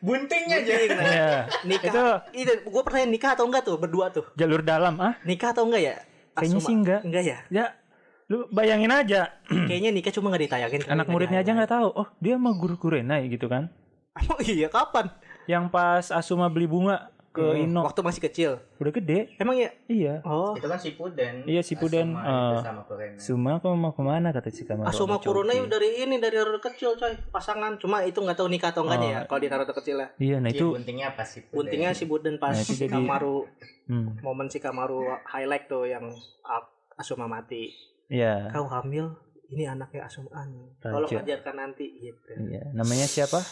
[SPEAKER 3] buntingnya aja.
[SPEAKER 2] Iya.
[SPEAKER 1] Nikah.
[SPEAKER 2] Itu
[SPEAKER 1] Itu gue pertanyaan nikah atau enggak tuh berdua tuh?
[SPEAKER 2] jalur dalam ah.
[SPEAKER 1] Nikah atau enggak ya?
[SPEAKER 2] Kayaknya
[SPEAKER 1] Asuma.
[SPEAKER 2] sih enggak.
[SPEAKER 1] Enggak ya?
[SPEAKER 2] Ya, lu bayangin aja.
[SPEAKER 1] Kayaknya nikah cuma nggak ditayangin. kali,
[SPEAKER 2] Anak
[SPEAKER 1] nggak
[SPEAKER 2] muridnya aja
[SPEAKER 1] ditayangin.
[SPEAKER 2] nggak tahu. Oh, dia mah guru Kurenai gitu kan.
[SPEAKER 1] Emang iya kapan?
[SPEAKER 2] Yang pas Asuma beli bunga ke
[SPEAKER 1] Hmm,
[SPEAKER 2] Ino.
[SPEAKER 1] Waktu masih kecil.
[SPEAKER 2] Udah gede.
[SPEAKER 1] Emang ya?
[SPEAKER 2] Iya.
[SPEAKER 1] Oh.
[SPEAKER 3] Itu kan Shippuden.
[SPEAKER 2] Iya, Shippuden,
[SPEAKER 3] Asuma itu
[SPEAKER 2] eh,
[SPEAKER 3] sama Kurena.
[SPEAKER 2] Suma kok mau kemana kata si Kamaru.
[SPEAKER 1] Asuma Kurunai ya dari ini dari Naruto kecil coy pasangan cuma itu nggak tahu nikah atau enggaknya ya
[SPEAKER 2] Oh.
[SPEAKER 1] kalau di Naruto kecil lah
[SPEAKER 2] Iya, nah
[SPEAKER 3] Iya,
[SPEAKER 2] itu.
[SPEAKER 3] buntingnya apa Shippuden?
[SPEAKER 1] buntingnya si Buden pas
[SPEAKER 2] Nah, itu jadi-
[SPEAKER 1] Kamaru
[SPEAKER 2] Hmm.
[SPEAKER 1] momen si Kamaru highlight tuh yang A- Asuma mati
[SPEAKER 2] Iya.
[SPEAKER 1] kau hamil ini anaknya Asuma nih kalau
[SPEAKER 2] Raja.
[SPEAKER 1] ajarkan nanti gitu
[SPEAKER 2] Iya. Namanya siapa?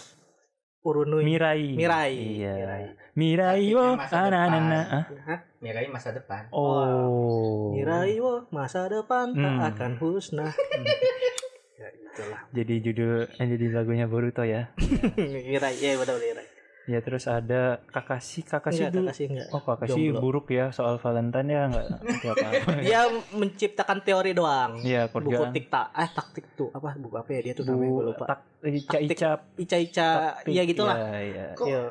[SPEAKER 1] Urunui
[SPEAKER 2] Mirai.
[SPEAKER 1] Mirai
[SPEAKER 2] Iya.
[SPEAKER 1] Mirai. ya,
[SPEAKER 2] Mirai wo
[SPEAKER 3] Masa depan.
[SPEAKER 2] ananana. Ah.
[SPEAKER 1] Hah?
[SPEAKER 3] Mirai masa depan.
[SPEAKER 2] Oh.
[SPEAKER 1] Mirai wo masa depan tak
[SPEAKER 2] Hmm.
[SPEAKER 1] akan husnah ya itulah
[SPEAKER 2] Jadi judul eh, jadi lagunya Boruto ya.
[SPEAKER 1] Mirai ya benar Mirai
[SPEAKER 2] Ya terus ada Kakashi, Kakashi
[SPEAKER 1] enggak
[SPEAKER 2] dulu.
[SPEAKER 1] Iya, Kakashi enggak
[SPEAKER 2] Oh, Kakashi
[SPEAKER 1] Jomblo.
[SPEAKER 2] buruk ya soal Valentine ya enggak apa-apa.
[SPEAKER 1] dia menciptakan teori doang
[SPEAKER 2] Iya,
[SPEAKER 1] buku
[SPEAKER 2] kerjaan.
[SPEAKER 1] tikta eh taktik tuh apa buku apa ya dia tuh namanya gue
[SPEAKER 2] Bu,
[SPEAKER 1] lupa
[SPEAKER 2] tak, eh, Ica
[SPEAKER 1] Taktik.
[SPEAKER 2] Ica
[SPEAKER 1] ica ica
[SPEAKER 2] Taktik,
[SPEAKER 1] iya gitulah
[SPEAKER 2] ya, ya.
[SPEAKER 3] Kok
[SPEAKER 1] iya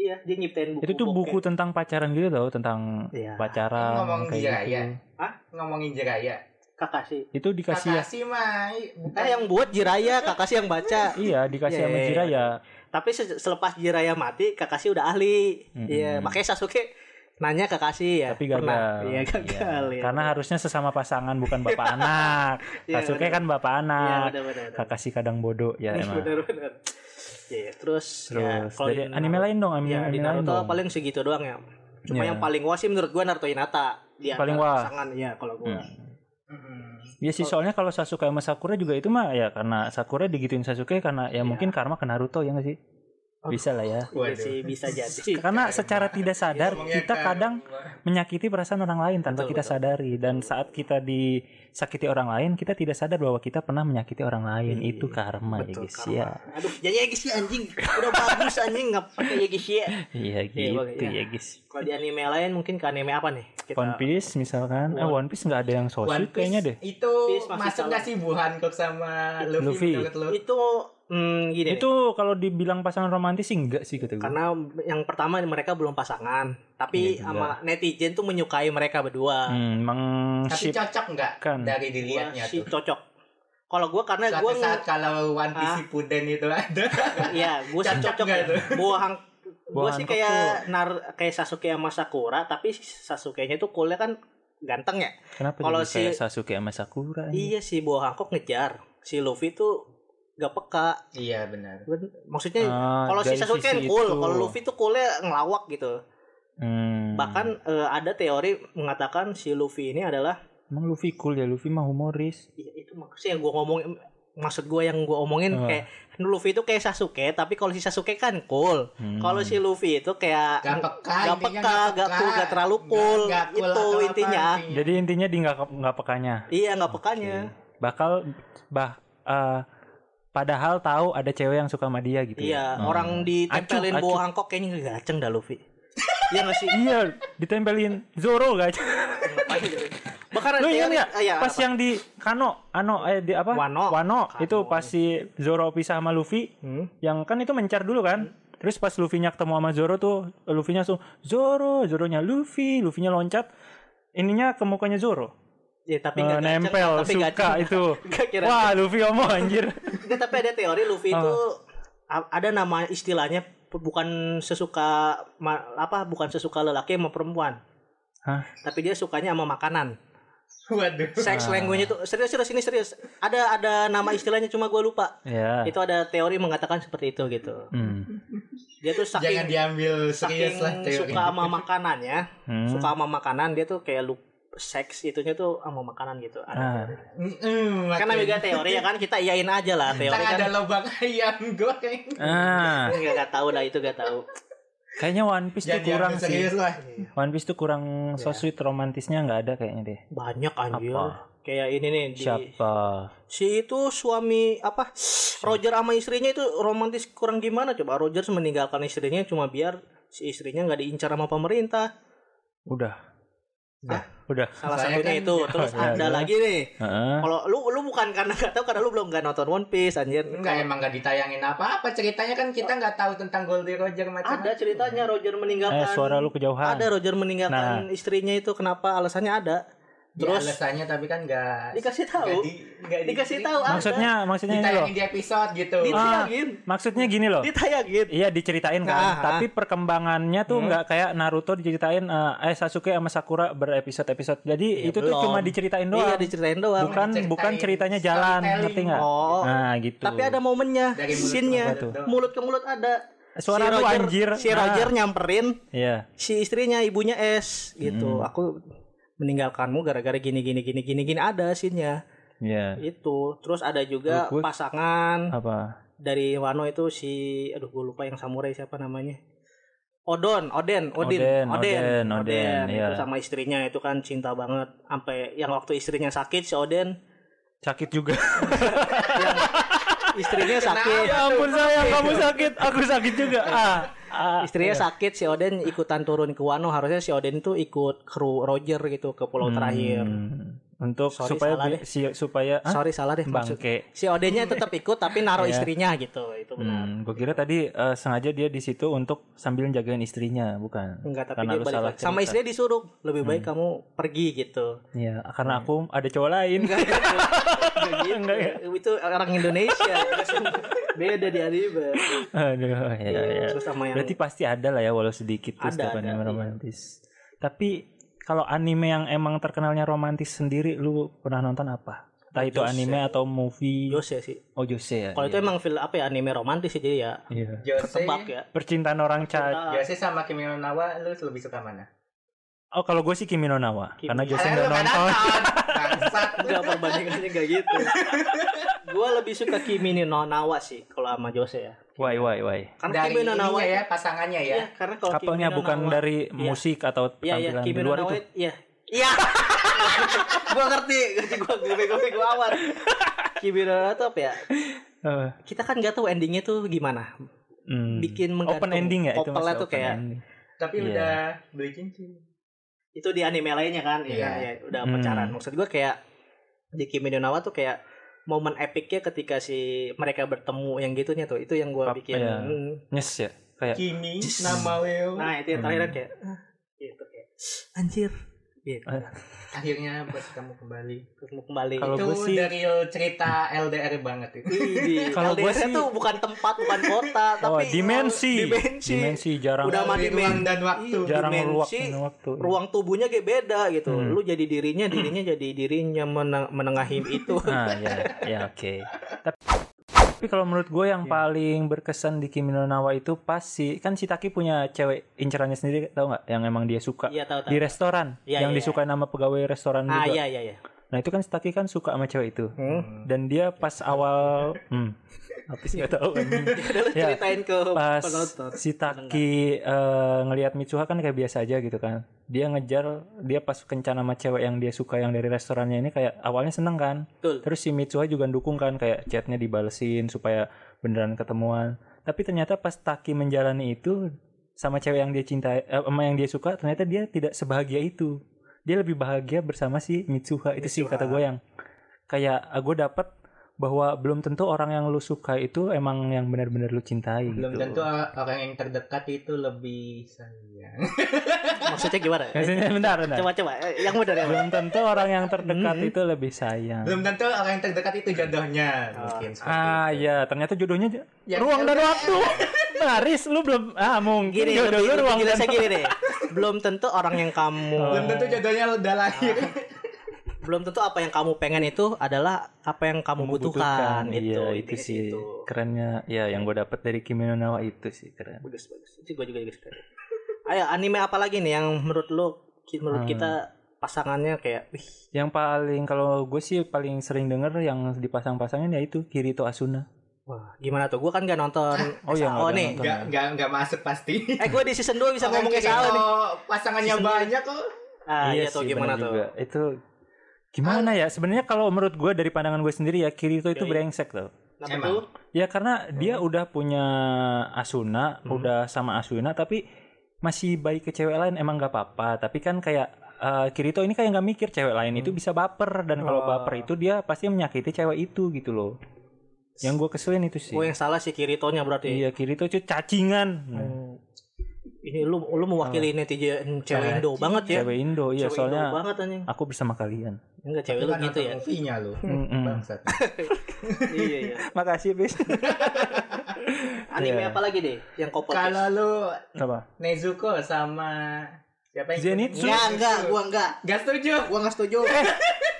[SPEAKER 1] iya dia nyiptain buku
[SPEAKER 2] Itu tuh buku tentang pacaran gitu tau tentang
[SPEAKER 1] Iya.
[SPEAKER 2] pacaran
[SPEAKER 3] Ngomong
[SPEAKER 2] kayak
[SPEAKER 3] dia,
[SPEAKER 2] gitu.
[SPEAKER 3] ya. ngomongin Jiraya.
[SPEAKER 1] Kakashi
[SPEAKER 2] Itu dikasih ya.
[SPEAKER 3] Kakashi mah i- bukan
[SPEAKER 1] eh yang buat Jiraya Kakashi yang baca
[SPEAKER 2] Iya, dikasih
[SPEAKER 1] Iya,
[SPEAKER 2] sama
[SPEAKER 1] iya, iya.
[SPEAKER 2] Jiraya.
[SPEAKER 1] tapi se- selepas Jiraya mati Kakashi udah ahli
[SPEAKER 2] Mm-mm.
[SPEAKER 1] iya makanya Sasuke nanya Kakashi ya
[SPEAKER 2] Tapi gagal.
[SPEAKER 1] pernah. iya gagal
[SPEAKER 2] Iya.
[SPEAKER 1] ya.
[SPEAKER 2] Karena harusnya sesama pasangan bukan bapak anak.
[SPEAKER 1] Iya,
[SPEAKER 2] Sasuke
[SPEAKER 1] benar.
[SPEAKER 2] kan bapak
[SPEAKER 1] iya
[SPEAKER 2] anak.
[SPEAKER 1] benar benar benar.
[SPEAKER 2] Kakashi kadang bodoh ya emang.
[SPEAKER 1] benar benar Iya, terus, ya,
[SPEAKER 2] Terus
[SPEAKER 1] kalau
[SPEAKER 2] dari
[SPEAKER 1] di
[SPEAKER 2] anime
[SPEAKER 1] Naruto-
[SPEAKER 2] lain dong, anime,
[SPEAKER 1] ya, di
[SPEAKER 2] anime lain
[SPEAKER 1] Naruto
[SPEAKER 2] dong.
[SPEAKER 1] paling segitu doang ya cuma
[SPEAKER 2] Iya.
[SPEAKER 1] yang paling wah sih menurut gua Naruto Hinata dia
[SPEAKER 2] Paling wah.
[SPEAKER 1] pasangan ya kalau gua
[SPEAKER 2] Hmm.
[SPEAKER 3] Mm-mm.
[SPEAKER 2] Ya sih soalnya kalau Sasuke sama Sakura juga itu mah ya karena Sakura digituin Sasuke karena ya
[SPEAKER 1] Iya.
[SPEAKER 2] mungkin karma ke Naruto ya nggak sih?
[SPEAKER 1] Aduh.
[SPEAKER 2] Bisa lah ya.
[SPEAKER 1] Iya
[SPEAKER 3] Waduh.
[SPEAKER 1] sih bisa jadi.
[SPEAKER 2] Karena
[SPEAKER 3] Karma.
[SPEAKER 2] secara tidak sadar
[SPEAKER 3] Ngomongnya
[SPEAKER 2] kita
[SPEAKER 3] kan.
[SPEAKER 2] kadang menyakiti perasaan orang lain tanpa
[SPEAKER 1] Betul,
[SPEAKER 2] kita
[SPEAKER 1] betul.
[SPEAKER 2] sadari dan saat kita disakiti orang lain kita tidak sadar bahwa kita pernah menyakiti orang lain
[SPEAKER 1] Iya,
[SPEAKER 2] itu karma ya
[SPEAKER 1] Betul,
[SPEAKER 2] guys
[SPEAKER 1] karma.
[SPEAKER 2] ya
[SPEAKER 1] Aduh, jadi ya guys ya anjing. Udah bagus anjing nggak pakai ya guys ya.
[SPEAKER 2] iya
[SPEAKER 1] Iya,
[SPEAKER 2] gitu
[SPEAKER 1] bagus, ya.
[SPEAKER 2] ya guys
[SPEAKER 1] Kalau di anime lain mungkin ke anime apa nih? Kita
[SPEAKER 2] One Piece misalkan eh One Piece nggak ada yang
[SPEAKER 3] One
[SPEAKER 2] sosit
[SPEAKER 3] Piece
[SPEAKER 2] kayaknya deh
[SPEAKER 3] Itu
[SPEAKER 1] Piece masih Iya.
[SPEAKER 3] masuk
[SPEAKER 1] salah.
[SPEAKER 3] nggak sih Buhan kok sama Luffy,
[SPEAKER 2] Luffy.
[SPEAKER 3] menurut lu?
[SPEAKER 1] itu hmm, gini. nih.
[SPEAKER 2] itu kalau dibilang pasangan romantis sih enggak sih kata gue
[SPEAKER 1] karena yang pertama mereka belum pasangan, tapi
[SPEAKER 2] Iya juga.
[SPEAKER 1] sama netizen tuh menyukai mereka berdua.
[SPEAKER 2] hmm,
[SPEAKER 3] Tapi
[SPEAKER 2] mengship
[SPEAKER 3] cocok nggak
[SPEAKER 2] kan
[SPEAKER 3] dari
[SPEAKER 1] Gua
[SPEAKER 3] dilihatnya
[SPEAKER 1] sih
[SPEAKER 3] tuh?
[SPEAKER 1] cocok. Kalau gua karena
[SPEAKER 3] Suatu
[SPEAKER 1] Hmm. Nah, gua
[SPEAKER 3] saat kalau One Piece
[SPEAKER 1] Ah.
[SPEAKER 3] Shippuden itu ada.
[SPEAKER 1] iya, gua sih
[SPEAKER 3] Cocok
[SPEAKER 1] cocok.
[SPEAKER 3] nggak
[SPEAKER 1] ya.
[SPEAKER 3] itu?
[SPEAKER 1] Gua hang- gua
[SPEAKER 2] Gua
[SPEAKER 1] sih
[SPEAKER 2] hangkok
[SPEAKER 1] kayak nar kayak Sasuke sama Sakura, tapi Sasuke-nya tuh kulnya kan ganteng ya.
[SPEAKER 2] Kenapa kalau
[SPEAKER 1] Kalau si-
[SPEAKER 2] kayak Sasuke sama Sakura ini?
[SPEAKER 1] Iya si Boa Hancock ngejar. Si Luffy tuh gak peka.
[SPEAKER 3] iya benar.
[SPEAKER 1] Ben-
[SPEAKER 2] Ah,
[SPEAKER 1] Maksudnya Iya, kalau si
[SPEAKER 2] dari
[SPEAKER 1] Sasuke
[SPEAKER 2] sisi
[SPEAKER 1] kan cool,
[SPEAKER 2] itu.
[SPEAKER 1] kalau Luffy tuh coolnya ngelawak gitu.
[SPEAKER 2] Hmm.
[SPEAKER 1] Bahkan eh, ada teori mengatakan si Luffy ini adalah
[SPEAKER 2] emang Luffy cool ya, Luffy mah humoris.
[SPEAKER 1] Iya, itu maksudnya yang gue ngomong maksud gue yang gue omongin
[SPEAKER 2] Ah.
[SPEAKER 1] kayak kan Luffy itu kayak Sasuke, tapi kalau si Sasuke kan cool.
[SPEAKER 2] Hmm.
[SPEAKER 1] Kalau si Luffy itu kayak
[SPEAKER 3] Gak peka,
[SPEAKER 1] gak
[SPEAKER 3] intinya
[SPEAKER 1] peka, gak cool, gak terlalu cool.
[SPEAKER 3] Nggak- nggak cool
[SPEAKER 1] Itu
[SPEAKER 3] atau apa
[SPEAKER 1] intinya.
[SPEAKER 2] Jadi intinya di nggak nggak pekanya.
[SPEAKER 1] iya nggak pekanya.
[SPEAKER 2] Oke. Bakal bah eh, padahal tahu ada cewek yang suka sama dia gitu. ya.
[SPEAKER 1] Iya,
[SPEAKER 2] Hmm.
[SPEAKER 1] orang ditempelin
[SPEAKER 2] Acuh,
[SPEAKER 1] Boa
[SPEAKER 2] acuh.
[SPEAKER 1] Hancock kayaknya gaceng dah Luffy. Iya gak sih?
[SPEAKER 2] Iya, ditempelin Zoro gak?
[SPEAKER 1] gitu? Bahkan
[SPEAKER 2] Lu ingat
[SPEAKER 1] teori-
[SPEAKER 2] nggak?
[SPEAKER 1] ah, ya,
[SPEAKER 2] Pas
[SPEAKER 1] apa?
[SPEAKER 2] yang di Kano, Ano eh di apa?
[SPEAKER 1] Wano. Kano.
[SPEAKER 2] itu pas si Zoro pisah sama Luffy,
[SPEAKER 1] Hmm?
[SPEAKER 2] yang kan itu mencar dulu kan terus pas Luffy-nya ketemu sama Zoro tuh Luffy-nya langsung Zoro Zoro-nya Luffy Luffy-nya loncat ininya ke mukanya Zoro
[SPEAKER 1] Ya, tapi
[SPEAKER 2] Eh,
[SPEAKER 1] nggak gaceng,
[SPEAKER 2] nempel
[SPEAKER 1] tapi
[SPEAKER 2] suka
[SPEAKER 1] gaceng.
[SPEAKER 2] itu
[SPEAKER 1] Nggak kira.
[SPEAKER 2] wah Luffy kamu anjir
[SPEAKER 1] Nggak, Iya, tapi ada teori Luffy itu
[SPEAKER 2] Oh.
[SPEAKER 1] a- ada nama istilahnya p- bukan sesuka ma- apa bukan sesuka lelaki sama perempuan.
[SPEAKER 2] Hah?
[SPEAKER 1] Tapi dia sukanya sama makanan.
[SPEAKER 3] Waduh.
[SPEAKER 2] Ah.
[SPEAKER 1] Sex language itu serius serius ini serius. Ada ada nama istilahnya cuma gue lupa.
[SPEAKER 2] Ya.
[SPEAKER 1] Itu ada teori mengatakan seperti itu gitu.
[SPEAKER 2] Hmm.
[SPEAKER 1] Dia tuh
[SPEAKER 3] Jangan
[SPEAKER 1] saking
[SPEAKER 3] diambil serius
[SPEAKER 1] saking
[SPEAKER 3] lah teori.
[SPEAKER 1] suka sama makanannya,
[SPEAKER 2] Hmm.
[SPEAKER 1] suka sama makanan dia tuh kayak lu seks itunya tuh sama makanan gitu.
[SPEAKER 2] Ah.
[SPEAKER 1] Ada.
[SPEAKER 3] Mm-mm,
[SPEAKER 1] Kan
[SPEAKER 3] makanya.
[SPEAKER 1] namanya teori ya kan kita iyain aja lah teori
[SPEAKER 3] Ntar ada
[SPEAKER 1] kan.
[SPEAKER 3] lubang ayam goreng.
[SPEAKER 2] Ah,
[SPEAKER 1] Enggak enggak tahu dah itu enggak tahu.
[SPEAKER 2] kayaknya One Piece tuh
[SPEAKER 3] Jangan
[SPEAKER 2] kurang sih.
[SPEAKER 3] diambil
[SPEAKER 2] Iya.
[SPEAKER 3] serius lah.
[SPEAKER 2] One Piece tuh kurang so
[SPEAKER 1] Ya.
[SPEAKER 2] sweet romantisnya nggak ada kayaknya deh.
[SPEAKER 1] Banyak anjir.
[SPEAKER 2] Apa?
[SPEAKER 1] Kayak ini nih di
[SPEAKER 2] Siapa?
[SPEAKER 1] si itu suami apa Roger sama istrinya itu romantis kurang gimana coba Roger meninggalkan istrinya cuma biar si istrinya nggak diincar sama pemerintah
[SPEAKER 2] Udah. Ah,
[SPEAKER 3] Udah.
[SPEAKER 2] Udah.
[SPEAKER 1] salah
[SPEAKER 3] Saya
[SPEAKER 1] satunya
[SPEAKER 3] kan-
[SPEAKER 1] itu terus
[SPEAKER 2] Iya,
[SPEAKER 1] ada
[SPEAKER 2] iya.
[SPEAKER 1] lagi nih
[SPEAKER 2] Heeh.
[SPEAKER 1] kalau lu lu bukan karena nggak tahu karena lu belum nggak nonton One Piece anjir
[SPEAKER 3] Enggak emang nggak ditayangin apa-apa ceritanya kan kita nggak tahu tentang Goldie Roger macam
[SPEAKER 1] ada ceritanya Roger meninggalkan
[SPEAKER 2] Eh, suara lu Nah. kejauhan.
[SPEAKER 1] ada Roger meninggalkan istrinya itu kenapa alasannya ada
[SPEAKER 3] terus
[SPEAKER 1] terus
[SPEAKER 3] Ya, alasannya tapi kan nggak
[SPEAKER 1] dikasih
[SPEAKER 3] nggak gitu.
[SPEAKER 1] tahu
[SPEAKER 3] di- nggak di-
[SPEAKER 1] Dikasih tahu, ah.
[SPEAKER 2] Maksudnya maksudnya ini loh.
[SPEAKER 3] ditayangin di episode gitu
[SPEAKER 1] ditayangin
[SPEAKER 2] Maksudnya gini loh.
[SPEAKER 1] ditayangin
[SPEAKER 2] Iya diceritain kan,
[SPEAKER 1] Nah,
[SPEAKER 2] tapi perkembangannya tuh
[SPEAKER 1] Hmm.
[SPEAKER 2] nggak kayak Naruto diceritain eh eh, Sasuke sama Sakura berepisode-episode. Jadi
[SPEAKER 1] Iya,
[SPEAKER 2] itu tuh
[SPEAKER 1] belum.
[SPEAKER 2] cuma diceritain
[SPEAKER 1] iya
[SPEAKER 2] doang.
[SPEAKER 1] diceritain doang
[SPEAKER 2] bukan
[SPEAKER 3] Diceritain.
[SPEAKER 2] bukan ceritanya jalan,
[SPEAKER 3] Storytelling.
[SPEAKER 2] ngerti nggak?
[SPEAKER 1] oh
[SPEAKER 2] Nah, gitu.
[SPEAKER 1] tapi ada momennya
[SPEAKER 3] dari mulut ke
[SPEAKER 1] scene-nya
[SPEAKER 2] Apa tuh?
[SPEAKER 3] doang.
[SPEAKER 1] mulut ke mulut ada
[SPEAKER 2] suara
[SPEAKER 1] si
[SPEAKER 2] lu
[SPEAKER 1] Roger,
[SPEAKER 2] anjir.
[SPEAKER 1] si
[SPEAKER 2] Nah,
[SPEAKER 1] Roger nyamperin
[SPEAKER 2] Iya.
[SPEAKER 1] si istrinya ibunya S
[SPEAKER 2] Hmm.
[SPEAKER 1] gitu aku meninggalkanmu gara-gara gini gini gini gini gini ada sinnya
[SPEAKER 2] Iya.
[SPEAKER 1] itu terus ada juga
[SPEAKER 2] Aku-
[SPEAKER 1] pasangan
[SPEAKER 2] Apa?
[SPEAKER 1] dari Wano itu si aduh gue lupa yang samurai siapa namanya Odon Oden Odin
[SPEAKER 2] Oden,
[SPEAKER 1] Oden
[SPEAKER 2] Oden, Oden,
[SPEAKER 1] itu
[SPEAKER 2] iya.
[SPEAKER 1] sama istrinya itu kan cinta banget sampai yang waktu istrinya sakit si Oden
[SPEAKER 2] Sakit juga.
[SPEAKER 1] istrinya sakit
[SPEAKER 2] ya ampun sayang, kamu sakit, aku sakit juga. Ah. ah.
[SPEAKER 1] istrinya sakit si Oden ikutan turun ke Wano harusnya si Oden tuh ikut kru Roger gitu ke pulau
[SPEAKER 2] Hmm.
[SPEAKER 1] terakhir
[SPEAKER 2] Untuk
[SPEAKER 1] Sorry,
[SPEAKER 2] supaya
[SPEAKER 1] salah
[SPEAKER 2] bi-
[SPEAKER 1] deh.
[SPEAKER 2] si- supaya ah,
[SPEAKER 1] sorry salah deh maksud
[SPEAKER 2] bangke.
[SPEAKER 1] si Odennya tetap ikut tapi naruh
[SPEAKER 2] Iya.
[SPEAKER 1] istrinya gitu itu benar
[SPEAKER 2] Hmm, gue kira tadi eh, sengaja dia di situ untuk sambil jagain istrinya, bukan?
[SPEAKER 1] enggak tapi
[SPEAKER 2] Karena
[SPEAKER 1] dia
[SPEAKER 2] lu
[SPEAKER 1] balik
[SPEAKER 2] salah
[SPEAKER 1] lagi. sama
[SPEAKER 2] cerita. Hmm.
[SPEAKER 1] istrinya disuruh lebih baik kamu pergi gitu
[SPEAKER 2] Iya, karena aku ada cowok lain.
[SPEAKER 1] enggak gitu. Enggak gitu.
[SPEAKER 2] Enggak ya?
[SPEAKER 1] itu orang Indonesia beda di Ariba
[SPEAKER 2] Aduh, ya, ya.
[SPEAKER 1] terus sama yang
[SPEAKER 2] Berarti pasti ada lah ya walau sedikit tuh
[SPEAKER 1] Ada,
[SPEAKER 2] setiap
[SPEAKER 1] ada,
[SPEAKER 2] anime
[SPEAKER 1] iya.
[SPEAKER 2] romantis. Tapi kalau anime yang emang terkenalnya romantis sendiri lu pernah nonton apa? Entah itu
[SPEAKER 1] Jose.
[SPEAKER 2] anime atau movie.
[SPEAKER 1] Yose sih
[SPEAKER 2] Oh, Jose ya. iya.
[SPEAKER 1] kalau itu emang film apa ya anime romantis sih jadi ya
[SPEAKER 2] Iya.
[SPEAKER 3] Jose
[SPEAKER 1] ketebak ya
[SPEAKER 2] Percintaan orang cacat.
[SPEAKER 1] Ah,
[SPEAKER 3] Jose sama Kimi no Nawa lu lebih suka mana
[SPEAKER 2] Oh, kalau gue sih Kimi no Na wa.
[SPEAKER 1] Kimi.
[SPEAKER 2] Karena Jose udah
[SPEAKER 3] Karena lu nggak
[SPEAKER 2] nonton.
[SPEAKER 3] bangsat
[SPEAKER 1] enggak perbandingannya enggak gitu gue lebih suka Kimi ni no Nawa sih kalau sama Jose ya
[SPEAKER 2] Why why why?
[SPEAKER 1] karena
[SPEAKER 3] dari
[SPEAKER 1] Kimi no Nawa
[SPEAKER 3] ininya ya pasangannya ya
[SPEAKER 1] Iya, karena kalau
[SPEAKER 2] Couple-nya
[SPEAKER 1] Kimi no
[SPEAKER 2] bukan
[SPEAKER 1] Nawa-
[SPEAKER 2] dari musik atau
[SPEAKER 1] Iya, iya,
[SPEAKER 2] tampilan
[SPEAKER 1] Kimi
[SPEAKER 2] di
[SPEAKER 1] no
[SPEAKER 2] luar
[SPEAKER 1] Nawa
[SPEAKER 2] itu.
[SPEAKER 1] itu. Iya. Iya. gua ngerti, gua gue bego bego awal. Kimi no Nawa itu apa ya?
[SPEAKER 2] Eh,
[SPEAKER 1] Kita kan nggak tahu endingnya tuh gimana.
[SPEAKER 2] hmm.
[SPEAKER 1] Bikin
[SPEAKER 2] open
[SPEAKER 1] menggantung
[SPEAKER 2] ending ya itu
[SPEAKER 1] couple-nya
[SPEAKER 2] maksudnya,
[SPEAKER 1] tuh
[SPEAKER 2] open
[SPEAKER 1] kayak
[SPEAKER 2] ending.
[SPEAKER 3] tapi
[SPEAKER 2] Iya.
[SPEAKER 3] udah beli cincin
[SPEAKER 1] itu di anime lainnya kan, ya,
[SPEAKER 3] Iya.
[SPEAKER 1] kan? Ya, udah
[SPEAKER 2] Hmm.
[SPEAKER 1] pacaran. Maksud gua kayak di Kimi no Nawa tuh kayak momen epiknya ketika si mereka bertemu yang gitunya tuh itu yang gua
[SPEAKER 2] Pap-
[SPEAKER 1] bikin
[SPEAKER 2] iya.
[SPEAKER 1] hmm.
[SPEAKER 2] Yes ya. Kayak
[SPEAKER 3] Kimi nama Leo
[SPEAKER 1] nah itu yang terakhir
[SPEAKER 2] Hmm.
[SPEAKER 1] kan kayak ah, gitu kayak anjir gitu
[SPEAKER 3] akhirnya bertemu kembali
[SPEAKER 1] ketemu kembali
[SPEAKER 2] Eh. Kalau
[SPEAKER 3] itu
[SPEAKER 2] gua sih-
[SPEAKER 3] dari cerita LDR banget itu
[SPEAKER 1] Ih,
[SPEAKER 2] Kalau gua
[SPEAKER 1] LDR-nya
[SPEAKER 2] sih-
[SPEAKER 1] tuh bukan tempat, bukan kota,
[SPEAKER 2] oh,
[SPEAKER 1] tapi oh,
[SPEAKER 2] dimensi.
[SPEAKER 1] dimensi.
[SPEAKER 2] jarang
[SPEAKER 1] Udah mah
[SPEAKER 3] Dari
[SPEAKER 1] dimen-
[SPEAKER 3] ruang dan waktu
[SPEAKER 1] Iya.
[SPEAKER 2] jarang
[SPEAKER 1] dimensi,
[SPEAKER 2] meluangkan waktu.
[SPEAKER 1] Ruang tubuhnya kayak beda gitu.
[SPEAKER 2] Hmm.
[SPEAKER 1] Lu jadi dirinya, dirinya jadi dirinya meneng- menengahi itu.
[SPEAKER 2] Nah, ya, ya oke. Tapi, tapi kalau menurut gue yang
[SPEAKER 1] Iya.
[SPEAKER 2] paling berkesan di Kimi no Na wa itu pas si kan si Taki punya cewek incerannya sendiri tau nggak yang emang dia suka
[SPEAKER 1] Iya tahu tahu.
[SPEAKER 2] di restoran
[SPEAKER 1] Iya,
[SPEAKER 2] yang
[SPEAKER 1] iya.
[SPEAKER 2] disukai nama pegawai restoran
[SPEAKER 1] Ah
[SPEAKER 2] juga.
[SPEAKER 1] iya iya iya.
[SPEAKER 2] Nah itu kan si Taki kan suka sama cewek itu
[SPEAKER 1] Hmm.
[SPEAKER 2] dan dia pas awal hmm, apa sih nggak tahu anjing.
[SPEAKER 1] Udah lu
[SPEAKER 2] Ya,
[SPEAKER 1] ceritain ke
[SPEAKER 2] pas
[SPEAKER 1] penonton.
[SPEAKER 2] si Taki eh, ngelihat Mitsuha kan kayak biasa aja gitu kan dia ngejar dia pas kencan sama cewek yang dia suka yang dari restorannya ini kayak awalnya seneng kan
[SPEAKER 1] Betul.
[SPEAKER 2] terus si Mitsuha juga dukung kan kayak chatnya dibalesin supaya beneran ketemuan tapi ternyata pas Taki menjalani itu sama cewek yang dia cinta eh, sama yang dia suka ternyata dia tidak sebahagia itu dia lebih bahagia bersama si Mitsuha itu sih
[SPEAKER 1] Mitsuha.
[SPEAKER 2] kata gue yang kayak "Ah, gue dapet bahwa belum tentu orang yang lu suka itu emang yang benar-benar lu cintai
[SPEAKER 3] belum
[SPEAKER 2] gitu.
[SPEAKER 3] tentu orang yang terdekat itu lebih sayang
[SPEAKER 1] Maksudnya gimana?
[SPEAKER 2] Maksudnya Iya, bentar, bentar.
[SPEAKER 1] Coba coba Eh, yang benar yang benar.
[SPEAKER 2] Belum tentu orang yang terdekat
[SPEAKER 1] Hmm.
[SPEAKER 2] itu lebih sayang.
[SPEAKER 3] belum tentu orang yang terdekat itu jodohnya mungkin seperti
[SPEAKER 2] Ah
[SPEAKER 3] itu.
[SPEAKER 2] ya, ternyata jodohnya j-
[SPEAKER 3] Ya,
[SPEAKER 2] ruang
[SPEAKER 3] ya,
[SPEAKER 2] dan
[SPEAKER 3] ya.
[SPEAKER 2] waktu. Baris lu belum ah mungkin
[SPEAKER 1] Gini,
[SPEAKER 2] jodoh lu
[SPEAKER 1] lebih,
[SPEAKER 2] ruang
[SPEAKER 1] lebih
[SPEAKER 2] dan Oh.
[SPEAKER 1] jelasnya gini deh. Belum tentu orang yang kamu
[SPEAKER 3] belum tentu jodohnya udah lahir
[SPEAKER 1] belum tentu apa yang kamu pengen itu adalah apa yang kamu butuhkan.
[SPEAKER 2] Iya, itu
[SPEAKER 1] gitu. intinya
[SPEAKER 2] sih
[SPEAKER 1] itu.
[SPEAKER 2] kerennya. Ya, yang gue dapet dari Kimi no Na wa itu sih keren.
[SPEAKER 1] Bagus bagus. Itu gue juga juga suka. Ayo anime apa lagi nih yang menurut lo ki- menurut
[SPEAKER 2] Hmm.
[SPEAKER 1] kita pasangannya kayak wih
[SPEAKER 2] Yang paling kalau gue sih paling sering denger yang dipasang-pasangin ya itu Kirito Asuna.
[SPEAKER 1] wah gimana tuh? Gue kan gak nonton
[SPEAKER 2] Oh iya, nggak
[SPEAKER 1] SAO
[SPEAKER 2] ada
[SPEAKER 1] nih.
[SPEAKER 2] nonton. Oh, iya,
[SPEAKER 3] Nggak nggak nggak masuk pasti.
[SPEAKER 1] Eh gue di season 2 bisa
[SPEAKER 3] Orang
[SPEAKER 1] ngomong
[SPEAKER 3] kira
[SPEAKER 1] SAO nih.
[SPEAKER 3] kalau Pasangannya
[SPEAKER 1] Season
[SPEAKER 3] banyak kok.
[SPEAKER 1] Ah, iya, tuh
[SPEAKER 2] sih, bener
[SPEAKER 1] gimana tuh?
[SPEAKER 2] juga. Itu gimana ya? Sebenarnya kalau menurut gue dari pandangan gue sendiri ya Kirito itu
[SPEAKER 1] Oke.
[SPEAKER 2] brengsek loh.
[SPEAKER 1] Kenapa
[SPEAKER 3] Emang.
[SPEAKER 1] tuh?
[SPEAKER 2] Ya karena dia udah punya Asuna,
[SPEAKER 1] Hmm.
[SPEAKER 2] udah sama Asuna, tapi masih baik ke cewek lain emang nggak apa-apa. Tapi kan kayak eh, Kirito ini kayak nggak mikir cewek lain
[SPEAKER 1] Hmm.
[SPEAKER 2] itu bisa baper dan kalau
[SPEAKER 1] Oh.
[SPEAKER 2] baper itu dia pasti menyakiti cewek itu gitu loh. Yang gue keselin itu sih.
[SPEAKER 1] Gue yang salah si Kiritonya berarti.
[SPEAKER 2] Iya Kirito itu cacingan. Nah,
[SPEAKER 1] Hmm. Ini lu lu mewakili netizen cewek Indo banget ya.
[SPEAKER 2] Iya. Cewek Indo, iya
[SPEAKER 1] Cewek Indo
[SPEAKER 2] soalnya kan
[SPEAKER 1] banget anjing.
[SPEAKER 2] aku bersama kalian.
[SPEAKER 1] Enggak cewek lu gitu ya.
[SPEAKER 3] Movie-nya lu.
[SPEAKER 2] Mm-mm.
[SPEAKER 3] Bangsat.
[SPEAKER 1] iya iya.
[SPEAKER 2] Makasih bis.
[SPEAKER 1] Anime
[SPEAKER 2] Iya.
[SPEAKER 1] apa lagi deh yang kopot?
[SPEAKER 3] Kalau lu
[SPEAKER 2] Apa?
[SPEAKER 3] Nezuko sama siapa yang
[SPEAKER 2] Zenitsu.
[SPEAKER 1] Enggak, enggak, gua enggak.
[SPEAKER 3] Gak setuju.
[SPEAKER 1] Gua enggak setuju.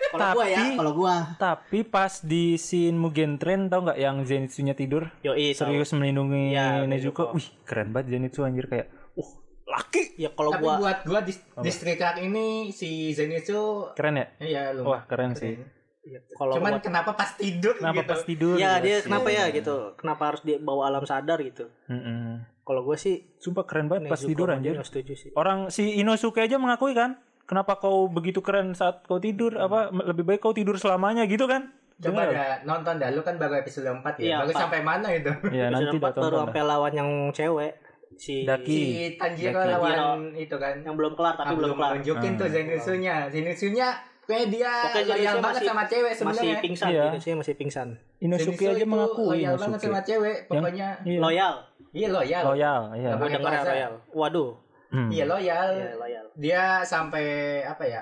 [SPEAKER 1] kalau gua ya,
[SPEAKER 2] Eh, tapi-
[SPEAKER 1] kalau gua.
[SPEAKER 2] Tapi pas di scene Mugen Train tau nggak yang Zenitsunya tidur
[SPEAKER 1] Yo, iya,
[SPEAKER 2] serius melindungi Nezuko.
[SPEAKER 1] Iya, Nezuko.
[SPEAKER 2] Wih, keren banget Zenitsu anjir kayak uh laki.
[SPEAKER 1] Ya kalau
[SPEAKER 3] Tapi
[SPEAKER 1] gua
[SPEAKER 3] buat gua di, di Street Art ini si Zenitsu
[SPEAKER 2] Keren ya?
[SPEAKER 3] iya lu.
[SPEAKER 2] Wah, keren sih.
[SPEAKER 1] ya, kalau gua-
[SPEAKER 3] Cuman kenapa pas tidur
[SPEAKER 2] Kenapa
[SPEAKER 3] gitu?
[SPEAKER 2] pas tidur?
[SPEAKER 1] ya dia
[SPEAKER 2] sih.
[SPEAKER 1] kenapa ya gitu? Kenapa harus dia bawa alam sadar gitu?
[SPEAKER 2] Mm-mm.
[SPEAKER 1] Kalau gua sih
[SPEAKER 2] Sumpah keren banget Kan pas
[SPEAKER 1] Nezuko
[SPEAKER 2] tidur
[SPEAKER 1] sama dia
[SPEAKER 2] anjir.
[SPEAKER 1] nggak setuju sih.
[SPEAKER 2] Orang si Inosuke aja mengakui kan? Kenapa kau begitu keren saat kau tidur? Apa lebih baik kau tidur selamanya gitu kan?
[SPEAKER 3] Iya. Coba
[SPEAKER 2] Dengar?
[SPEAKER 3] dah nonton dah lu kan baru episode 4 ya.
[SPEAKER 1] Iya,
[SPEAKER 3] baru
[SPEAKER 1] Pak.
[SPEAKER 3] sampai mana itu?
[SPEAKER 2] Iya,
[SPEAKER 1] Episode
[SPEAKER 2] nanti dah
[SPEAKER 1] empat baru
[SPEAKER 2] tonton.
[SPEAKER 1] sampai lawan yang cewek si
[SPEAKER 2] Daki.
[SPEAKER 3] Si Tanjiro
[SPEAKER 2] Daki.
[SPEAKER 3] lawan itu kan.
[SPEAKER 1] yang belum kelar tapi
[SPEAKER 3] Ah,
[SPEAKER 1] belum kelar.
[SPEAKER 3] nunjukin
[SPEAKER 2] Hmm.
[SPEAKER 3] tuh Zenitsunya. Zenitsunya kayak dia
[SPEAKER 1] Pokoknya
[SPEAKER 3] loyal
[SPEAKER 1] Zenitsu
[SPEAKER 3] banget
[SPEAKER 1] masih-
[SPEAKER 3] sama cewek
[SPEAKER 1] Masih
[SPEAKER 3] sebenarnya.
[SPEAKER 1] pingsan
[SPEAKER 2] Iya.
[SPEAKER 1] gitu sih, masih pingsan.
[SPEAKER 2] Inosuke
[SPEAKER 3] Zenitsu
[SPEAKER 2] aja
[SPEAKER 3] itu
[SPEAKER 2] mengakui
[SPEAKER 3] loyal banget
[SPEAKER 2] Inosuke.
[SPEAKER 3] sama cewek, pokoknya
[SPEAKER 2] Iya.
[SPEAKER 1] Loyal.
[SPEAKER 3] iya loyal.
[SPEAKER 2] Loyal, iya.
[SPEAKER 3] Nggak
[SPEAKER 1] Gua
[SPEAKER 3] pakai
[SPEAKER 1] dengarnya
[SPEAKER 3] perasaan.
[SPEAKER 1] loyal. Waduh.
[SPEAKER 2] Hmm.
[SPEAKER 3] Iya loyal.
[SPEAKER 1] Iya, loyal.
[SPEAKER 3] Dia sampai apa ya?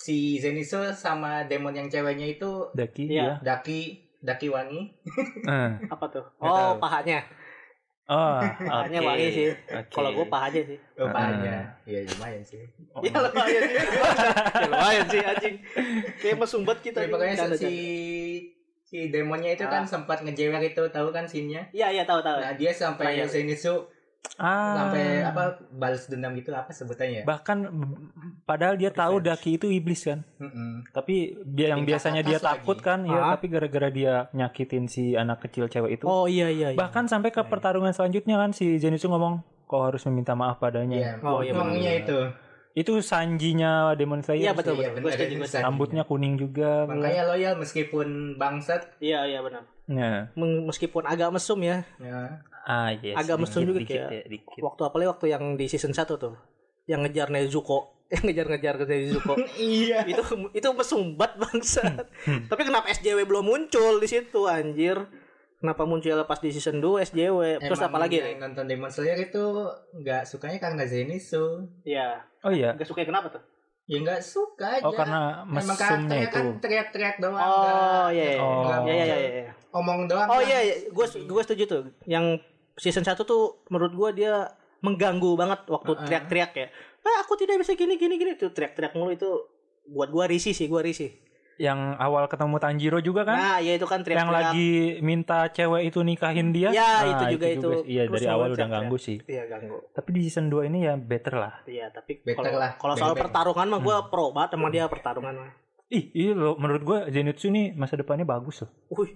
[SPEAKER 3] Si Zenitsu sama demon yang ceweknya itu
[SPEAKER 2] Daki,
[SPEAKER 1] Iya.
[SPEAKER 2] iya.
[SPEAKER 3] Daki Daki Wangi.
[SPEAKER 2] Eh.
[SPEAKER 1] Apa tuh?
[SPEAKER 2] Nggak
[SPEAKER 1] Oh,
[SPEAKER 2] tahu.
[SPEAKER 1] pahanya.
[SPEAKER 2] Oh, oke.
[SPEAKER 1] Pahanya wangi sih.
[SPEAKER 2] Oke.
[SPEAKER 1] Kalau gua pahanya sih.
[SPEAKER 3] Rupanya. Iya lumayan sih.
[SPEAKER 2] Oh.
[SPEAKER 1] Ya lumayan sih. ya lumayan sih anjing. Kayak mesumbat kita.
[SPEAKER 3] Tapi
[SPEAKER 1] nih,
[SPEAKER 3] pokoknya
[SPEAKER 1] bercanda,
[SPEAKER 3] si
[SPEAKER 1] bercanda.
[SPEAKER 3] si demonnya itu
[SPEAKER 1] Ah.
[SPEAKER 3] kan sempat ngejewer itu tahu kan scene-nya.
[SPEAKER 1] Iya iya tahu tahu.
[SPEAKER 3] Nah, dia sampai
[SPEAKER 1] Iya.
[SPEAKER 3] Zenitsu
[SPEAKER 2] Ah.
[SPEAKER 3] sampai apa balas dendam gitu apa sebutannya ya?
[SPEAKER 2] bahkan b- padahal dia tahu Daki itu iblis kan
[SPEAKER 3] Mm-mm.
[SPEAKER 2] tapi dia yang
[SPEAKER 3] Tingkat
[SPEAKER 2] biasanya dia
[SPEAKER 3] atas lagi.
[SPEAKER 2] takut kan ya
[SPEAKER 1] Ah.
[SPEAKER 2] tapi gara-gara dia nyakitin si anak kecil cewek itu
[SPEAKER 1] Oh iya iya. iya.
[SPEAKER 2] bahkan sampai ke pertarungan selanjutnya kan si Zenitsu ngomong kau harus meminta maaf padanya
[SPEAKER 3] Iya,
[SPEAKER 1] Oh, iya,
[SPEAKER 2] benar.
[SPEAKER 3] ngomongnya itu.
[SPEAKER 2] itu sanjinya Demon Slayer
[SPEAKER 1] Iya betul
[SPEAKER 3] Iya,
[SPEAKER 1] betul.
[SPEAKER 3] benar,
[SPEAKER 1] Gua setuju,
[SPEAKER 3] ini
[SPEAKER 1] gua setuju.
[SPEAKER 3] sanjinya.
[SPEAKER 2] rambutnya kuning juga iya.
[SPEAKER 3] Makanya loyal meskipun bangsat.
[SPEAKER 1] Iya iya benar.
[SPEAKER 2] nah
[SPEAKER 1] Meng- Meskipun agak mesum ya.
[SPEAKER 3] Ya.
[SPEAKER 2] ah yes,
[SPEAKER 1] Agak mesum juga
[SPEAKER 2] dikit,
[SPEAKER 1] kayak-
[SPEAKER 2] ya, dikit.
[SPEAKER 1] Waktu apalagi waktu yang di season 1 tuh. Yang ngejar Nezuko, yang ngejar-ngejar ke Nezuko.
[SPEAKER 3] Iya.
[SPEAKER 1] itu itu mesumbat bangsat. Tapi kenapa SJW belum muncul di situ anjir? Kenapa muncul pas di season 2 SJW? Terus
[SPEAKER 3] Emang iya.
[SPEAKER 1] apa lagi?
[SPEAKER 3] yang nonton Demon Slayer itu nggak sukanya karena Zenitsu.
[SPEAKER 1] Ya,
[SPEAKER 2] oh iya
[SPEAKER 1] gak suka kenapa tuh?
[SPEAKER 3] Ya nggak
[SPEAKER 1] Iya,
[SPEAKER 3] suka aja.
[SPEAKER 2] oh karena
[SPEAKER 3] Emang
[SPEAKER 2] mesumnya
[SPEAKER 3] karakternya
[SPEAKER 2] itu
[SPEAKER 3] kan teriak-teriak doang.
[SPEAKER 1] Oh,
[SPEAKER 3] nggak-
[SPEAKER 1] iya iya.
[SPEAKER 2] Oh.
[SPEAKER 1] Iya iya iya. iya.
[SPEAKER 3] Omong doang.
[SPEAKER 1] Oh
[SPEAKER 3] kan.
[SPEAKER 1] iya, iya. gue gue setuju tuh. Yang season 1 tuh menurut gue dia mengganggu banget waktu
[SPEAKER 3] Heeh.
[SPEAKER 1] teriak-teriak ya. Ah, aku tidak bisa gini gini gini tuh teriak-teriak mulu itu buat gua risih sih, gua risih.
[SPEAKER 2] yang awal ketemu Tanjiro juga kan
[SPEAKER 1] Nah, ya itu kan teriak-teriak.
[SPEAKER 2] yang lagi minta cewek itu nikahin dia
[SPEAKER 1] Ya,
[SPEAKER 2] Nah,
[SPEAKER 1] itu juga itu.
[SPEAKER 2] sih. iya
[SPEAKER 1] Terus
[SPEAKER 2] dari
[SPEAKER 1] semua
[SPEAKER 2] awal udah
[SPEAKER 1] teriak-teriak.
[SPEAKER 2] ganggu sih
[SPEAKER 1] Iya, ganggu.
[SPEAKER 2] tapi di season 2 ini ya better lah
[SPEAKER 1] Iya, tapi
[SPEAKER 3] Better
[SPEAKER 1] kalau
[SPEAKER 3] lah,
[SPEAKER 1] kalau soal
[SPEAKER 3] bebek.
[SPEAKER 1] pertarungan mah
[SPEAKER 2] Hmm.
[SPEAKER 1] gue pro banget sama dia pertarungan mah.
[SPEAKER 2] Ih, iya loh, menurut gue Zenitsu ini masa depannya bagus loh.
[SPEAKER 1] Wih.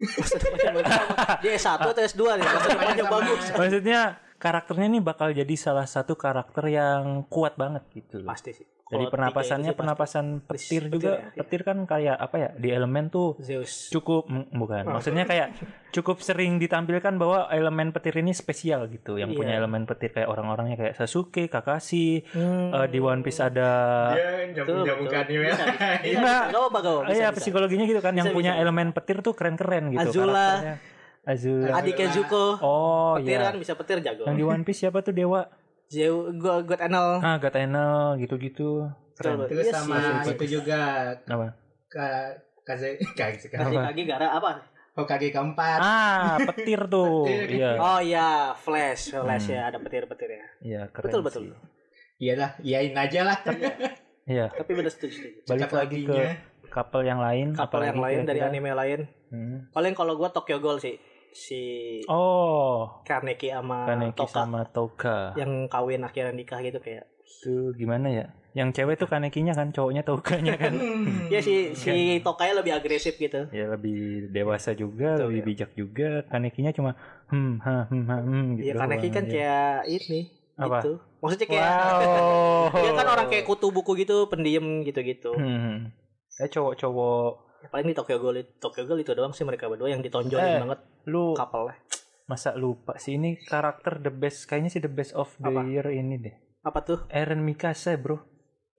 [SPEAKER 1] Masa depannya bagus sama. Dia S1 atau S2 nih? Masa depannya
[SPEAKER 3] Sama.
[SPEAKER 1] bagus.
[SPEAKER 2] Maksudnya karakternya nih bakal jadi salah satu karakter yang kuat banget gitu loh.
[SPEAKER 1] Pasti sih.
[SPEAKER 2] Dari
[SPEAKER 1] Kalau
[SPEAKER 2] pernapasannya
[SPEAKER 1] tiga itu sih
[SPEAKER 2] pernapasan petir,
[SPEAKER 1] Petir
[SPEAKER 2] juga.
[SPEAKER 1] ya, iya.
[SPEAKER 2] Petir kan kayak apa ya? Di elemen tuh
[SPEAKER 1] pasti. Zeus.
[SPEAKER 2] cukup mm, bukan.
[SPEAKER 1] Oh.
[SPEAKER 2] Maksudnya kayak cukup sering ditampilkan bahwa elemen petir ini spesial gitu. Yang
[SPEAKER 1] Iya.
[SPEAKER 2] punya elemen petir kayak orang-orangnya kayak Sasuke, Kakashi,
[SPEAKER 1] Hmm.
[SPEAKER 2] eh, di One Piece ada
[SPEAKER 3] Dia
[SPEAKER 1] betul.
[SPEAKER 3] jamu-jamu kan ya.
[SPEAKER 1] Bisa, bisa. Iya,
[SPEAKER 2] Iya.
[SPEAKER 1] bisa. Gak apa-apa, gak apa-apa.
[SPEAKER 2] Eh,
[SPEAKER 1] Bisa,
[SPEAKER 2] ya
[SPEAKER 1] bisa.
[SPEAKER 2] psikologinya gitu kan yang
[SPEAKER 1] Bisa,
[SPEAKER 2] punya
[SPEAKER 1] bisa.
[SPEAKER 2] elemen petir tuh keren-keren gitu
[SPEAKER 1] Azula.
[SPEAKER 2] karakternya. Azula.
[SPEAKER 1] Adiknya Zuko.
[SPEAKER 2] Oh
[SPEAKER 1] Petir
[SPEAKER 2] iya.
[SPEAKER 1] kan bisa petir jago.
[SPEAKER 2] Yang di One Piece siapa tuh dewa?
[SPEAKER 1] Zeus, gue gue anal.
[SPEAKER 2] Ah, God Enel gitu-gitu. Keren.
[SPEAKER 1] Betul.
[SPEAKER 3] Terus
[SPEAKER 1] Iya
[SPEAKER 3] sama
[SPEAKER 1] sih.
[SPEAKER 3] itu juga
[SPEAKER 2] Apa?
[SPEAKER 3] Ka- Kaze Kaze
[SPEAKER 1] Kasih lagi gara apa?
[SPEAKER 3] Hokage keempat.
[SPEAKER 2] Ah, petir tuh.
[SPEAKER 3] Petir.
[SPEAKER 2] Iya.
[SPEAKER 1] Oh iya, flash, flash
[SPEAKER 2] Hmm.
[SPEAKER 1] ya ada petir-petirnya.
[SPEAKER 2] Iya, keren.
[SPEAKER 1] Betul, betul.
[SPEAKER 2] sih.
[SPEAKER 3] Iyalah, iyain aja lah.
[SPEAKER 1] Tapi
[SPEAKER 2] Iya.
[SPEAKER 1] Tapi benar setuju. setuju.
[SPEAKER 2] Balik lagi ke couple yang lain.
[SPEAKER 1] Couple
[SPEAKER 2] Hmm, apalagi
[SPEAKER 1] yang lain dari
[SPEAKER 2] kira-kira?
[SPEAKER 1] anime lain.
[SPEAKER 2] Hmm.
[SPEAKER 1] Paling kalau gua Tokyo Ghoul sih. Si
[SPEAKER 2] Oh,
[SPEAKER 1] Kaneki sama
[SPEAKER 2] Kaneki
[SPEAKER 1] Toka
[SPEAKER 2] sama Toka.
[SPEAKER 1] yang kawin akhirnya nikah gitu kayak.
[SPEAKER 2] Itu gimana ya? Yang cewek tuh Kanekinya kan, cowoknya Tokanya kan.
[SPEAKER 3] Hmm.
[SPEAKER 1] Ya si si Tokanya lebih agresif gitu.
[SPEAKER 2] ya lebih dewasa juga,
[SPEAKER 1] Betul,
[SPEAKER 2] lebih
[SPEAKER 1] ya.
[SPEAKER 2] bijak juga. Kanekinya cuma hmm ha hmm ha hmm gitu.
[SPEAKER 1] Iya Kaneki
[SPEAKER 2] doang,
[SPEAKER 1] kan
[SPEAKER 2] ya.
[SPEAKER 1] kayak ini
[SPEAKER 2] Apa?
[SPEAKER 1] gitu. Maksudnya kayak
[SPEAKER 2] Wow.
[SPEAKER 1] dia kan orang kayak kutu buku gitu, pendiam gitu-gitu.
[SPEAKER 2] Hmm. Ya cowok-cowok
[SPEAKER 1] Paling di Tokyo Ghoul Tokyo Ghoul itu doang sih mereka berdua yang
[SPEAKER 2] Eh.
[SPEAKER 1] ditonjolin banget
[SPEAKER 2] lu
[SPEAKER 1] couple
[SPEAKER 2] masa lupa sih ini karakter the best kayaknya sih the best of the
[SPEAKER 1] Apa?
[SPEAKER 2] year ini deh.
[SPEAKER 1] Apa tuh?
[SPEAKER 2] Eren Mikasa, Bro.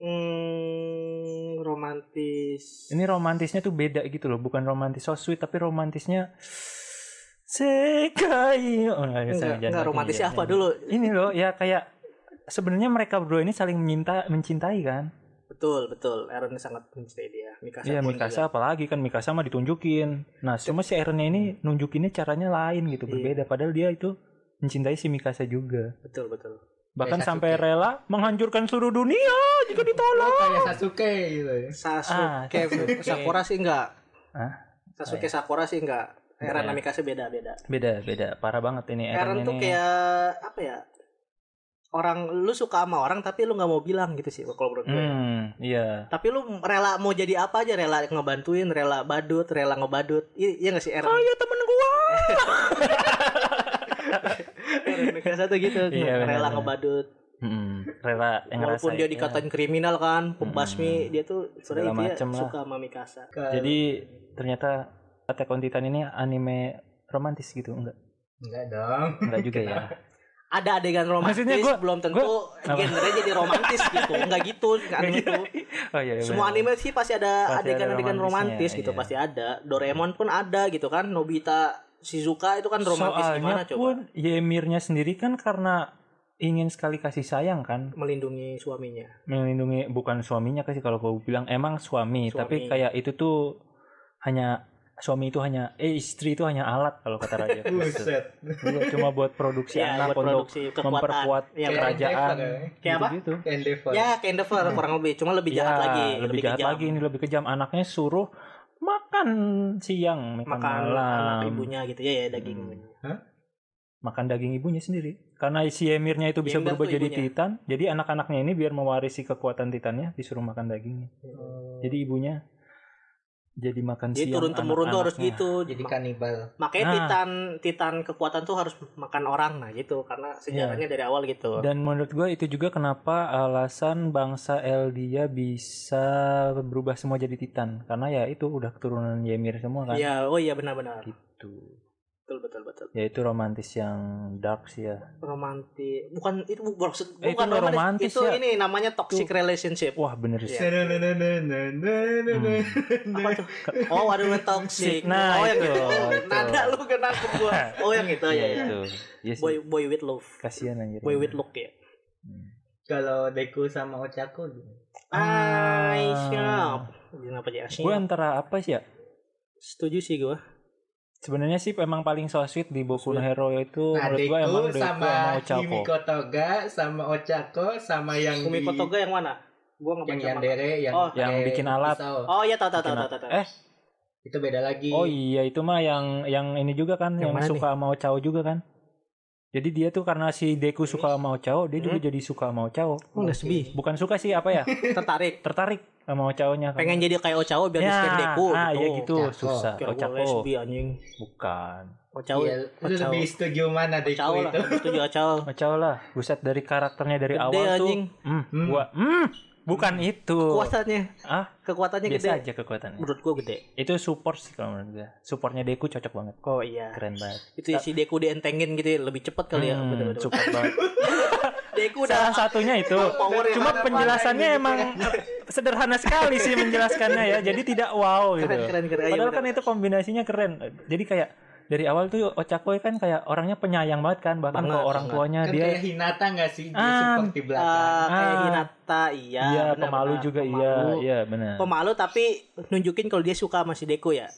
[SPEAKER 1] Hmm, romantis.
[SPEAKER 2] Ini romantisnya tuh beda gitu loh, bukan romantis so sweet tapi romantisnya Sekai. Oh, nggak,
[SPEAKER 1] enggak,
[SPEAKER 2] jangan-
[SPEAKER 1] enggak
[SPEAKER 2] jangan.
[SPEAKER 1] romantisnya
[SPEAKER 2] Iya,
[SPEAKER 1] apa
[SPEAKER 2] iya.
[SPEAKER 1] dulu?
[SPEAKER 2] Ini loh ya kayak sebenarnya mereka berdua ini saling menyinta, mencintai kan?
[SPEAKER 1] Betul, betul. Aaron sangat mencintai dia. Mikasa
[SPEAKER 2] Iya
[SPEAKER 1] pun
[SPEAKER 2] Mikasa apalagi kan Mikasa mah ditunjukin. Nah cuma si Erennya ini nunjukinnya caranya lain gitu
[SPEAKER 1] Iya.
[SPEAKER 2] berbeda. Padahal dia itu mencintai si Mikasa juga.
[SPEAKER 1] juga. Betul, betul.
[SPEAKER 2] Bahkan
[SPEAKER 3] Kayak
[SPEAKER 2] sampai
[SPEAKER 3] Sasuke.
[SPEAKER 2] rela menghancurkan seluruh dunia jika ditolak.
[SPEAKER 3] kayak ya, Sasuke gitu ya.
[SPEAKER 2] Ah,
[SPEAKER 1] Sasuke,
[SPEAKER 2] Sasuke.
[SPEAKER 1] Sakura sih enggak.
[SPEAKER 2] Hah?
[SPEAKER 1] Sasuke Sakura sih enggak. Aaron
[SPEAKER 2] Iya.
[SPEAKER 1] sama Mikasa beda-beda.
[SPEAKER 2] Beda beda parah banget ini Eren
[SPEAKER 1] Aaron
[SPEAKER 2] ini.
[SPEAKER 1] tuh kayak apa ya? Orang lu suka sama orang tapi lu nggak mau bilang gitu sih kalau menurut gue.
[SPEAKER 2] Hmm iya.
[SPEAKER 1] Tapi lu rela mau jadi apa aja, rela ngebantuin, rela badut, rela ngebadut. I- Iya nggak sih Aaron?
[SPEAKER 2] Oh iya temen gua.
[SPEAKER 1] Aaron Mikasa tuh gitu,
[SPEAKER 2] Iya, benar,
[SPEAKER 1] rela
[SPEAKER 2] benar.
[SPEAKER 1] ngebadut.
[SPEAKER 2] Hmm, rela yang ngerasain,
[SPEAKER 1] Walaupun dia
[SPEAKER 2] ya.
[SPEAKER 1] dikatain kriminal kan, pembasmi,
[SPEAKER 2] Hmm.
[SPEAKER 1] dia tuh sebenarnya
[SPEAKER 2] Segala
[SPEAKER 1] dia
[SPEAKER 2] macem lah.
[SPEAKER 1] suka sama Mikasa.
[SPEAKER 3] Ke-
[SPEAKER 2] Jadi ternyata Attack on Titan ini anime romantis gitu enggak?
[SPEAKER 3] enggak dong.
[SPEAKER 2] Enggak juga ya.
[SPEAKER 1] Ada adegan romantis,
[SPEAKER 2] Maksudnya gua-
[SPEAKER 1] belum tentu
[SPEAKER 2] apa?
[SPEAKER 1] genre jadi romantis gitu. Enggak gitu, enggak anime
[SPEAKER 2] Iya.
[SPEAKER 1] tuh.
[SPEAKER 2] Oh iya. iya,
[SPEAKER 1] Semua
[SPEAKER 2] benar.
[SPEAKER 1] anime sih pasti
[SPEAKER 2] Pasti
[SPEAKER 1] ada
[SPEAKER 2] ada
[SPEAKER 1] adegan-adegan
[SPEAKER 2] romantisnya,
[SPEAKER 1] romantis gitu,
[SPEAKER 2] iya.
[SPEAKER 1] pasti ada. Doraemon pun ada gitu kan, Nobita, Shizuka itu kan romantis
[SPEAKER 2] Soalnya
[SPEAKER 1] gimana coba?
[SPEAKER 2] pun Yemirnya sendiri kan karena ingin sekali kasih sayang kan
[SPEAKER 1] Melindungi suaminya.
[SPEAKER 2] melindungi bukan suaminya kasih kalau gue bilang emang suami,
[SPEAKER 1] Suami.
[SPEAKER 2] tapi kayak itu tuh hanya suami itu hanya eh istri itu hanya alat kalau kata raja Gitu.
[SPEAKER 3] Buset.
[SPEAKER 2] Bukan cuma buat produksi
[SPEAKER 1] Iya,
[SPEAKER 2] anak
[SPEAKER 1] buat
[SPEAKER 2] untuk
[SPEAKER 1] produksi
[SPEAKER 2] memperkuat
[SPEAKER 1] Iya,
[SPEAKER 3] Kayak
[SPEAKER 1] benar.
[SPEAKER 2] kerajaan
[SPEAKER 3] Endeavor ya.
[SPEAKER 1] Kayak apa?
[SPEAKER 2] gitu
[SPEAKER 3] Kayak Endeavor.
[SPEAKER 1] Ya, kayak Endeavor kurang lebih, cuma lebih jahat lagi,
[SPEAKER 2] Iya, lebih, jahat
[SPEAKER 1] kejam.
[SPEAKER 2] lagi ini lebih kejam anaknya suruh makan siang makan,
[SPEAKER 1] makan
[SPEAKER 2] malam
[SPEAKER 1] anak ibunya gitu ya, ya daging.
[SPEAKER 2] Hmm. makan daging ibunya sendiri. Karena si Emirnya itu bisa
[SPEAKER 1] Diendorse
[SPEAKER 2] berubah
[SPEAKER 1] tuh
[SPEAKER 2] jadi
[SPEAKER 1] ibunya.
[SPEAKER 2] Titan, jadi anak-anaknya ini biar mewarisi kekuatan Titannya disuruh makan dagingnya. Jadi ibunya jadi makan siang.
[SPEAKER 1] Jadi turun temurun tuh harus
[SPEAKER 2] anak-anaknya.
[SPEAKER 1] gitu.
[SPEAKER 3] Jadi kanibal.
[SPEAKER 1] Makanya
[SPEAKER 2] Nah.
[SPEAKER 1] Titan Titan kekuatan tuh harus makan orang nah gitu karena
[SPEAKER 2] Iya.
[SPEAKER 1] sejarahnya dari awal gitu.
[SPEAKER 2] Dan menurut gue itu juga kenapa alasan bangsa Eldia bisa berubah semua jadi Titan, karena ya itu udah keturunan Ymir semua kan.
[SPEAKER 1] Iya, oh iya benar-benar.
[SPEAKER 2] Gitu.
[SPEAKER 1] Betul betul betul.
[SPEAKER 2] Ya itu romantis yang dark sih ya.
[SPEAKER 1] Romantis. Bukan itu bu- maksud
[SPEAKER 2] Eh, itu
[SPEAKER 1] bukan
[SPEAKER 2] nggak
[SPEAKER 1] romantis,
[SPEAKER 2] romantis
[SPEAKER 1] itu
[SPEAKER 2] ya.
[SPEAKER 1] ini namanya toxic relationship.
[SPEAKER 2] Wah bener sih. Hmm.
[SPEAKER 1] Iya.
[SPEAKER 3] Iya.
[SPEAKER 1] Apa tuh? Oh, waduh toxic.
[SPEAKER 2] Nah,
[SPEAKER 1] oh, yang
[SPEAKER 2] itu,
[SPEAKER 1] gitu.
[SPEAKER 2] itu.
[SPEAKER 1] Nada lu kena ke gua. Oh, yang itu ya. ya.
[SPEAKER 2] itu. Iya sih.
[SPEAKER 1] Boy boy with love.
[SPEAKER 2] Kasihan anjir.
[SPEAKER 1] Boy with look ya.
[SPEAKER 3] Kalau Deku sama Ochaku gitu.
[SPEAKER 2] Ah.
[SPEAKER 1] Aisyah. Kenapa jadi
[SPEAKER 2] Gue
[SPEAKER 1] Aisyah?
[SPEAKER 2] antara apa sih ya?
[SPEAKER 1] Setuju sih gua.
[SPEAKER 2] Sebenarnya sih emang paling so sweet di Boku no Hero itu
[SPEAKER 3] Nah,
[SPEAKER 2] menurut gue
[SPEAKER 3] Deku
[SPEAKER 2] emang Deku
[SPEAKER 3] sama
[SPEAKER 2] sama Ochako.
[SPEAKER 3] Himiko Toga sama Ochako sama yang
[SPEAKER 1] Kumi
[SPEAKER 3] di-
[SPEAKER 1] Kotoga yang mana? Gua nggak baca
[SPEAKER 3] yang
[SPEAKER 1] manga.
[SPEAKER 3] yandere yang
[SPEAKER 1] Oh.
[SPEAKER 2] Yang
[SPEAKER 3] pakai
[SPEAKER 2] bikin alat.
[SPEAKER 3] pisau.
[SPEAKER 1] Oh iya tahu tahu tahu
[SPEAKER 2] Bikin
[SPEAKER 1] tahu
[SPEAKER 2] apa?
[SPEAKER 1] tahu.
[SPEAKER 2] Eh,
[SPEAKER 3] Itu beda lagi.
[SPEAKER 2] oh iya itu mah yang yang ini juga kan
[SPEAKER 1] Yang
[SPEAKER 2] yang,
[SPEAKER 1] mana
[SPEAKER 2] suka sama Ochao juga kan. Jadi dia tuh karena si Deku suka sama Ochao, dia juga jadi suka sama Ochao.
[SPEAKER 1] Hmm? Oh, lesbi.
[SPEAKER 2] Bukan suka sih apa ya?
[SPEAKER 1] Tertarik.
[SPEAKER 2] Tertarik sama Ochao-nya kan.
[SPEAKER 1] pengen jadi kayak Ochawa
[SPEAKER 2] ya,
[SPEAKER 1] biar di stand deku
[SPEAKER 2] ah,
[SPEAKER 1] gitu.
[SPEAKER 2] ya gitu,
[SPEAKER 3] Ochako.
[SPEAKER 2] susah.
[SPEAKER 1] Kira gue
[SPEAKER 2] Ochako.
[SPEAKER 1] lesbi anjing.
[SPEAKER 2] Bukan.
[SPEAKER 1] Ochawa.
[SPEAKER 3] Iya, lu
[SPEAKER 1] Ochao.
[SPEAKER 3] lebih setuju mana Deku
[SPEAKER 1] Ochawa lah,
[SPEAKER 3] itu?
[SPEAKER 1] gue setuju Ochawa.
[SPEAKER 2] Ochao lah, buset dari karakternya dari
[SPEAKER 1] Gede,
[SPEAKER 2] awal tuh.
[SPEAKER 1] anjing.
[SPEAKER 2] Hmm,
[SPEAKER 3] Hmm.
[SPEAKER 2] gua hmm, bukan itu.
[SPEAKER 1] Kekuatannya,
[SPEAKER 2] Ah,
[SPEAKER 1] kekuatannya
[SPEAKER 2] biasa
[SPEAKER 1] gede.
[SPEAKER 2] aja kekuatannya.
[SPEAKER 1] Menurut gue gede.
[SPEAKER 2] itu support sih kalau menurut gue supportnya Deku cocok banget
[SPEAKER 1] Oh iya.
[SPEAKER 2] keren banget
[SPEAKER 1] Itu ya, si Deku dientengin gitu ya, lebih cepet kali ya.
[SPEAKER 2] Hmm,
[SPEAKER 1] Betul-betul.
[SPEAKER 2] support banget
[SPEAKER 1] Deku udah
[SPEAKER 2] salah satunya itu
[SPEAKER 1] power ya.
[SPEAKER 2] cuma
[SPEAKER 1] Mana-
[SPEAKER 2] penjelasannya emang
[SPEAKER 1] gitu ya.
[SPEAKER 2] sederhana sekali sih menjelaskannya ya jadi tidak wow gitu
[SPEAKER 1] Keren, keren, keren. Iya,
[SPEAKER 2] padahal
[SPEAKER 1] bener.
[SPEAKER 2] kan itu kombinasinya keren jadi kayak dari awal tuh Ochako kan kayak orangnya penyayang banget kan bahkan
[SPEAKER 1] Banget,
[SPEAKER 2] ke orang
[SPEAKER 1] banget.
[SPEAKER 2] tuanya
[SPEAKER 3] Kan
[SPEAKER 2] dia
[SPEAKER 3] kayak Hinata gak sih? Dia
[SPEAKER 2] Ah,
[SPEAKER 3] support di belakang.
[SPEAKER 1] Ah, kayak
[SPEAKER 2] Ah.
[SPEAKER 1] Hinata, iya.
[SPEAKER 2] iya
[SPEAKER 1] benar,
[SPEAKER 2] pemalu
[SPEAKER 1] benar.
[SPEAKER 2] juga
[SPEAKER 1] Pemalu.
[SPEAKER 2] iya iya benar
[SPEAKER 1] Pemalu tapi nunjukin kalau dia suka sama si Deku ya.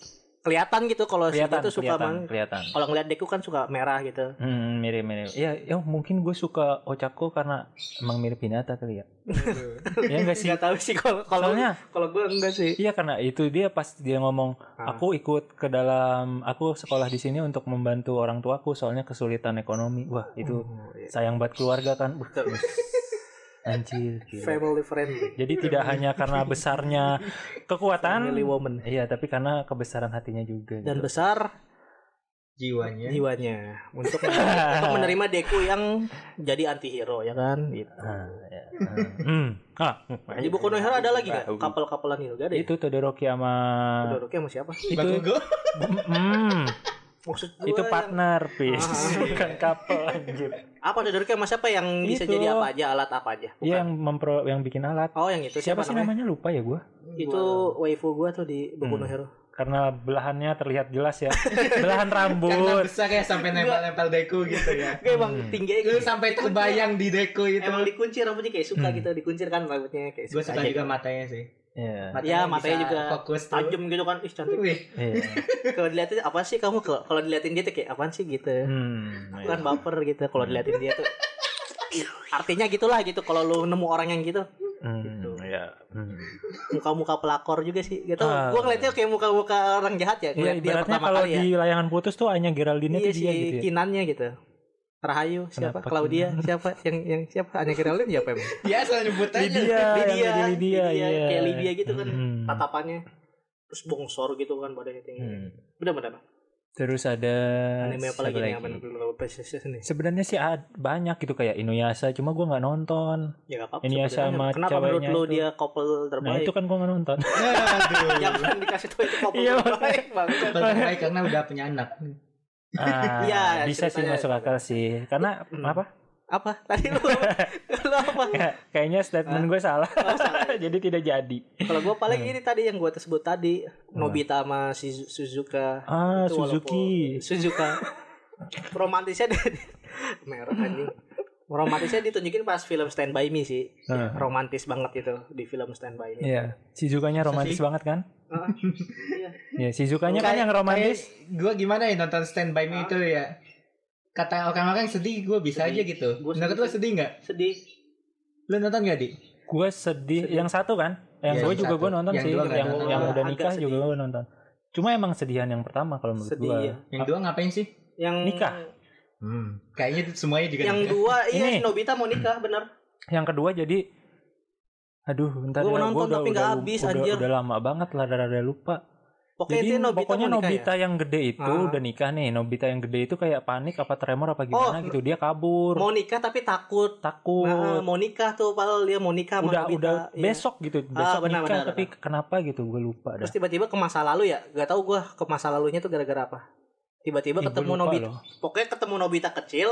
[SPEAKER 1] kelihatan gitu kalau si
[SPEAKER 2] kelihatan
[SPEAKER 1] dia tuh suka
[SPEAKER 2] kelihatan,
[SPEAKER 1] man
[SPEAKER 2] kelihatan.
[SPEAKER 1] kalau ngeliat Deku kan suka merah gitu
[SPEAKER 2] Hmm, mirip mirip. Ya, ya mungkin gue suka Ochako karena emang mirip Hinata kali ya.
[SPEAKER 3] gitu.
[SPEAKER 2] ya enggak sih.
[SPEAKER 1] nggak tahu sih kalau kalau
[SPEAKER 2] Soalnya
[SPEAKER 1] kalau gue enggak sih
[SPEAKER 2] iya karena itu dia pas dia ngomong
[SPEAKER 1] Ah.
[SPEAKER 2] aku ikut ke dalam aku sekolah di sini untuk membantu orang tuaku soalnya kesulitan ekonomi. Wah, itu
[SPEAKER 1] Oh, iya.
[SPEAKER 2] sayang buat keluarga kan. Wah,
[SPEAKER 1] Betul.
[SPEAKER 2] Anjir. gila.
[SPEAKER 1] family friendly
[SPEAKER 2] Jadi tidak hanya karena besarnya kekuatan
[SPEAKER 1] family woman
[SPEAKER 2] Iya, tapi karena kebesaran hatinya juga. gitu.
[SPEAKER 1] dan besar
[SPEAKER 3] jiwanya
[SPEAKER 1] jiwanya untuk untuk menerima Deku yang jadi anti hero ya kan gitu.
[SPEAKER 2] Ah, ya. Ah. Hmm. Ah,
[SPEAKER 1] Di buku no Hero ada lagi nggak?
[SPEAKER 2] Bagus.
[SPEAKER 1] Kapal-kapalan hero gak ada ya?
[SPEAKER 2] itu ah. Todoroki sama
[SPEAKER 1] Todoroki sama siapa?
[SPEAKER 2] itu
[SPEAKER 3] Bakugo
[SPEAKER 2] Hmm,
[SPEAKER 1] Maksud gua
[SPEAKER 2] itu
[SPEAKER 1] yang-
[SPEAKER 2] partner, Pis.
[SPEAKER 1] Ah.
[SPEAKER 2] Bukan couple anjir. Iya,
[SPEAKER 1] Apa Todoroki sama siapa yang bisa
[SPEAKER 2] Itu.
[SPEAKER 1] jadi apa aja, alat apa aja?
[SPEAKER 2] Dia yang mempro yang bikin alat.
[SPEAKER 1] Oh yang itu
[SPEAKER 2] Siapa,
[SPEAKER 1] siapa,
[SPEAKER 2] sih
[SPEAKER 1] namanya?
[SPEAKER 2] namanya? lupa ya gua.
[SPEAKER 1] Itu waifu gua tuh di buku no
[SPEAKER 2] Hmm.
[SPEAKER 1] Hero.
[SPEAKER 2] Karena belahannya terlihat jelas ya. Belahan
[SPEAKER 3] karena
[SPEAKER 2] rambut.
[SPEAKER 3] besar ya sampai nempel-nempel deku gitu ya
[SPEAKER 1] Kayak emang
[SPEAKER 2] Hmm.
[SPEAKER 1] tinggi aja
[SPEAKER 3] lu
[SPEAKER 1] gitu.
[SPEAKER 3] sampai terbayang di deku itu
[SPEAKER 1] Emang dikunci rambutnya kayak suka
[SPEAKER 2] Hmm.
[SPEAKER 1] gitu, dikuncir kan rambutnya kayak
[SPEAKER 3] gue suka
[SPEAKER 1] aja
[SPEAKER 3] juga
[SPEAKER 1] gitu.
[SPEAKER 3] matanya sih
[SPEAKER 2] Iya.
[SPEAKER 1] Iya, matanya
[SPEAKER 3] bisa
[SPEAKER 1] juga
[SPEAKER 3] fokus tuh.
[SPEAKER 1] tajam gitu kan. Ih cantik.
[SPEAKER 3] Wih,
[SPEAKER 2] Iya.
[SPEAKER 1] kalau diliatin apa sih kamu kalau kalau diliatin dia tuh kayak apaan sih gitu.
[SPEAKER 2] Hmm.
[SPEAKER 1] Bukan baper gitu kalau diliatin dia tuh. Artinya gitulah gitu kalau lu nemu orang yang gitu.
[SPEAKER 2] Hmm, iya. Hmm.
[SPEAKER 1] muka-muka pelakor juga sih gitu.
[SPEAKER 2] Ah.
[SPEAKER 1] Gua ngeliatnya kayak muka-muka orang jahat
[SPEAKER 2] Iya,
[SPEAKER 1] ya. Ngeliat dia
[SPEAKER 2] ibaratnya
[SPEAKER 1] pertama
[SPEAKER 2] kalau
[SPEAKER 1] kali ya.
[SPEAKER 2] di layangan putus tuh hanya Geraldine
[SPEAKER 1] Iya
[SPEAKER 2] tuh dia
[SPEAKER 1] si
[SPEAKER 2] gitu ya.
[SPEAKER 1] kinannya gitu. Rahayu siapa?
[SPEAKER 2] Kenapa Hmm.
[SPEAKER 1] Claudia siapa? Yang yang siapa? Hanya Geraldine siapa emang?
[SPEAKER 3] dia asal nyebut aja.
[SPEAKER 2] Lydia, yang
[SPEAKER 1] Lydia,
[SPEAKER 2] jadi Lydia,
[SPEAKER 1] Lydia,
[SPEAKER 2] iya. Hmm.
[SPEAKER 1] kayak Lydia gitu kan,
[SPEAKER 2] Mm-mm.
[SPEAKER 1] Tatapannya terus bongsor gitu kan badannya tinggi.
[SPEAKER 2] Hmm. Eh,
[SPEAKER 1] Benar-benar.
[SPEAKER 2] Terus ada
[SPEAKER 1] Anime apa lagi
[SPEAKER 2] siapa
[SPEAKER 1] nih yang benar ini?
[SPEAKER 2] Sebenarnya sih ad- banyak gitu kayak Inuyasha, cuma gua nggak nonton.
[SPEAKER 1] Ya enggak apa-apa.
[SPEAKER 2] Ini ya
[SPEAKER 1] sebenarnya.
[SPEAKER 2] sama
[SPEAKER 1] Kenapa menurut
[SPEAKER 2] ceweknya
[SPEAKER 1] lu
[SPEAKER 2] itu.
[SPEAKER 1] dia couple
[SPEAKER 2] Nah,
[SPEAKER 1] terbaik?
[SPEAKER 2] itu kan gua nggak nonton.
[SPEAKER 3] Aduh.
[SPEAKER 1] Jangan dikasih tahu itu couple
[SPEAKER 2] Iya,
[SPEAKER 1] terbaik banget.
[SPEAKER 3] Terbaik karena udah punya anak.
[SPEAKER 2] Ah,
[SPEAKER 1] Iya,
[SPEAKER 2] bisa sih
[SPEAKER 1] ceritanya.
[SPEAKER 2] masuk akal sih. Karena
[SPEAKER 1] Hmm.
[SPEAKER 2] apa?
[SPEAKER 1] Apa? Tadi lu lu apa?
[SPEAKER 2] Kayak- Kayaknya statement gue salah.
[SPEAKER 1] Oh, salah.
[SPEAKER 2] Jadi tidak jadi.
[SPEAKER 1] Kalau gue paling
[SPEAKER 2] Hmm.
[SPEAKER 1] ini tadi yang gue sebut tadi Nobita sama Shizu- Suzuka
[SPEAKER 2] Ah,
[SPEAKER 1] Itu walaupun-
[SPEAKER 2] Suzuki.
[SPEAKER 1] iya, Suzuka romantisnya dia merah anjing romantisnya ditunjukin pas film Stand By Me sih
[SPEAKER 2] Heeh.
[SPEAKER 1] romantis banget itu di film Stand By
[SPEAKER 2] Ah.
[SPEAKER 1] Me
[SPEAKER 2] Iya, Shizukanya romantis banget kan?
[SPEAKER 1] Heeh. Iya.
[SPEAKER 2] Iya, Shizukanya kan yang romantis.
[SPEAKER 3] Gue gimana ya nonton Stand By Me itu ya? Kata orang-orang sedih, gue bisa
[SPEAKER 1] Sedih.
[SPEAKER 3] aja gitu.
[SPEAKER 1] Gua
[SPEAKER 3] Menurut
[SPEAKER 1] sedih.
[SPEAKER 3] lo sedih nggak?
[SPEAKER 1] sedih
[SPEAKER 3] Lo nonton nggak, Di?
[SPEAKER 2] Gue sedih.
[SPEAKER 1] Sedih.
[SPEAKER 2] Yang satu kan?
[SPEAKER 3] Iya,
[SPEAKER 2] Yang gue
[SPEAKER 3] yang
[SPEAKER 2] juga
[SPEAKER 3] satu.
[SPEAKER 2] gue nonton
[SPEAKER 3] Yang
[SPEAKER 2] sih.
[SPEAKER 3] dua
[SPEAKER 2] Yang
[SPEAKER 3] nggak
[SPEAKER 2] yang,
[SPEAKER 3] nonton.
[SPEAKER 1] Ah,
[SPEAKER 2] udah
[SPEAKER 1] agak
[SPEAKER 2] nikah juga
[SPEAKER 1] sedih.
[SPEAKER 2] gue nonton. Cuma emang sedihan yang pertama kalau menurut
[SPEAKER 1] sedih ya
[SPEAKER 2] gue.
[SPEAKER 3] Yang dua ngapain sih?
[SPEAKER 1] yang
[SPEAKER 2] Nikah.
[SPEAKER 3] Hmm. Kayaknya semuanya juga
[SPEAKER 1] yang
[SPEAKER 3] nikah.
[SPEAKER 1] dua iya
[SPEAKER 2] Ini.
[SPEAKER 1] si Nobita mau nikah bener
[SPEAKER 2] Yang kedua jadi Aduh, bentar
[SPEAKER 1] Gua
[SPEAKER 2] ya,
[SPEAKER 1] nonton
[SPEAKER 2] udah-
[SPEAKER 1] tapi nggak
[SPEAKER 2] udah-
[SPEAKER 1] habis,
[SPEAKER 2] udah,
[SPEAKER 1] anjir.
[SPEAKER 2] udah lama banget lah, rada-rada lupa.
[SPEAKER 1] pokoknya
[SPEAKER 2] Jadi
[SPEAKER 1] itu Nobita
[SPEAKER 2] pokoknya
[SPEAKER 1] mau nikah ya.
[SPEAKER 2] Nobita yang gede itu
[SPEAKER 1] Ah.
[SPEAKER 2] udah nikah nih. Nobita yang gede itu kayak panik apa tremor apa gimana
[SPEAKER 1] Oh,
[SPEAKER 2] gitu. Dia
[SPEAKER 1] ya?
[SPEAKER 2] kabur,
[SPEAKER 1] mau nikah tapi takut
[SPEAKER 2] takut.
[SPEAKER 1] Nah, mau nikah tuh padahal dia mau nikah sama
[SPEAKER 2] udah
[SPEAKER 1] Nobita.
[SPEAKER 2] udah
[SPEAKER 1] Iya.
[SPEAKER 2] besok gitu. Besok
[SPEAKER 1] benar,
[SPEAKER 2] nikah
[SPEAKER 1] benar,
[SPEAKER 2] tapi kenapa gitu gue lupa dah.
[SPEAKER 1] Terus tiba-tiba ke masa lalu ya, nggak tahu gua ke masa lalunya tuh gara-gara apa.
[SPEAKER 2] Ih,
[SPEAKER 1] Tiba-tiba
[SPEAKER 2] gua
[SPEAKER 1] ketemu
[SPEAKER 2] lupa
[SPEAKER 1] Nobita,
[SPEAKER 2] loh.
[SPEAKER 1] pokoknya ketemu Nobita kecil.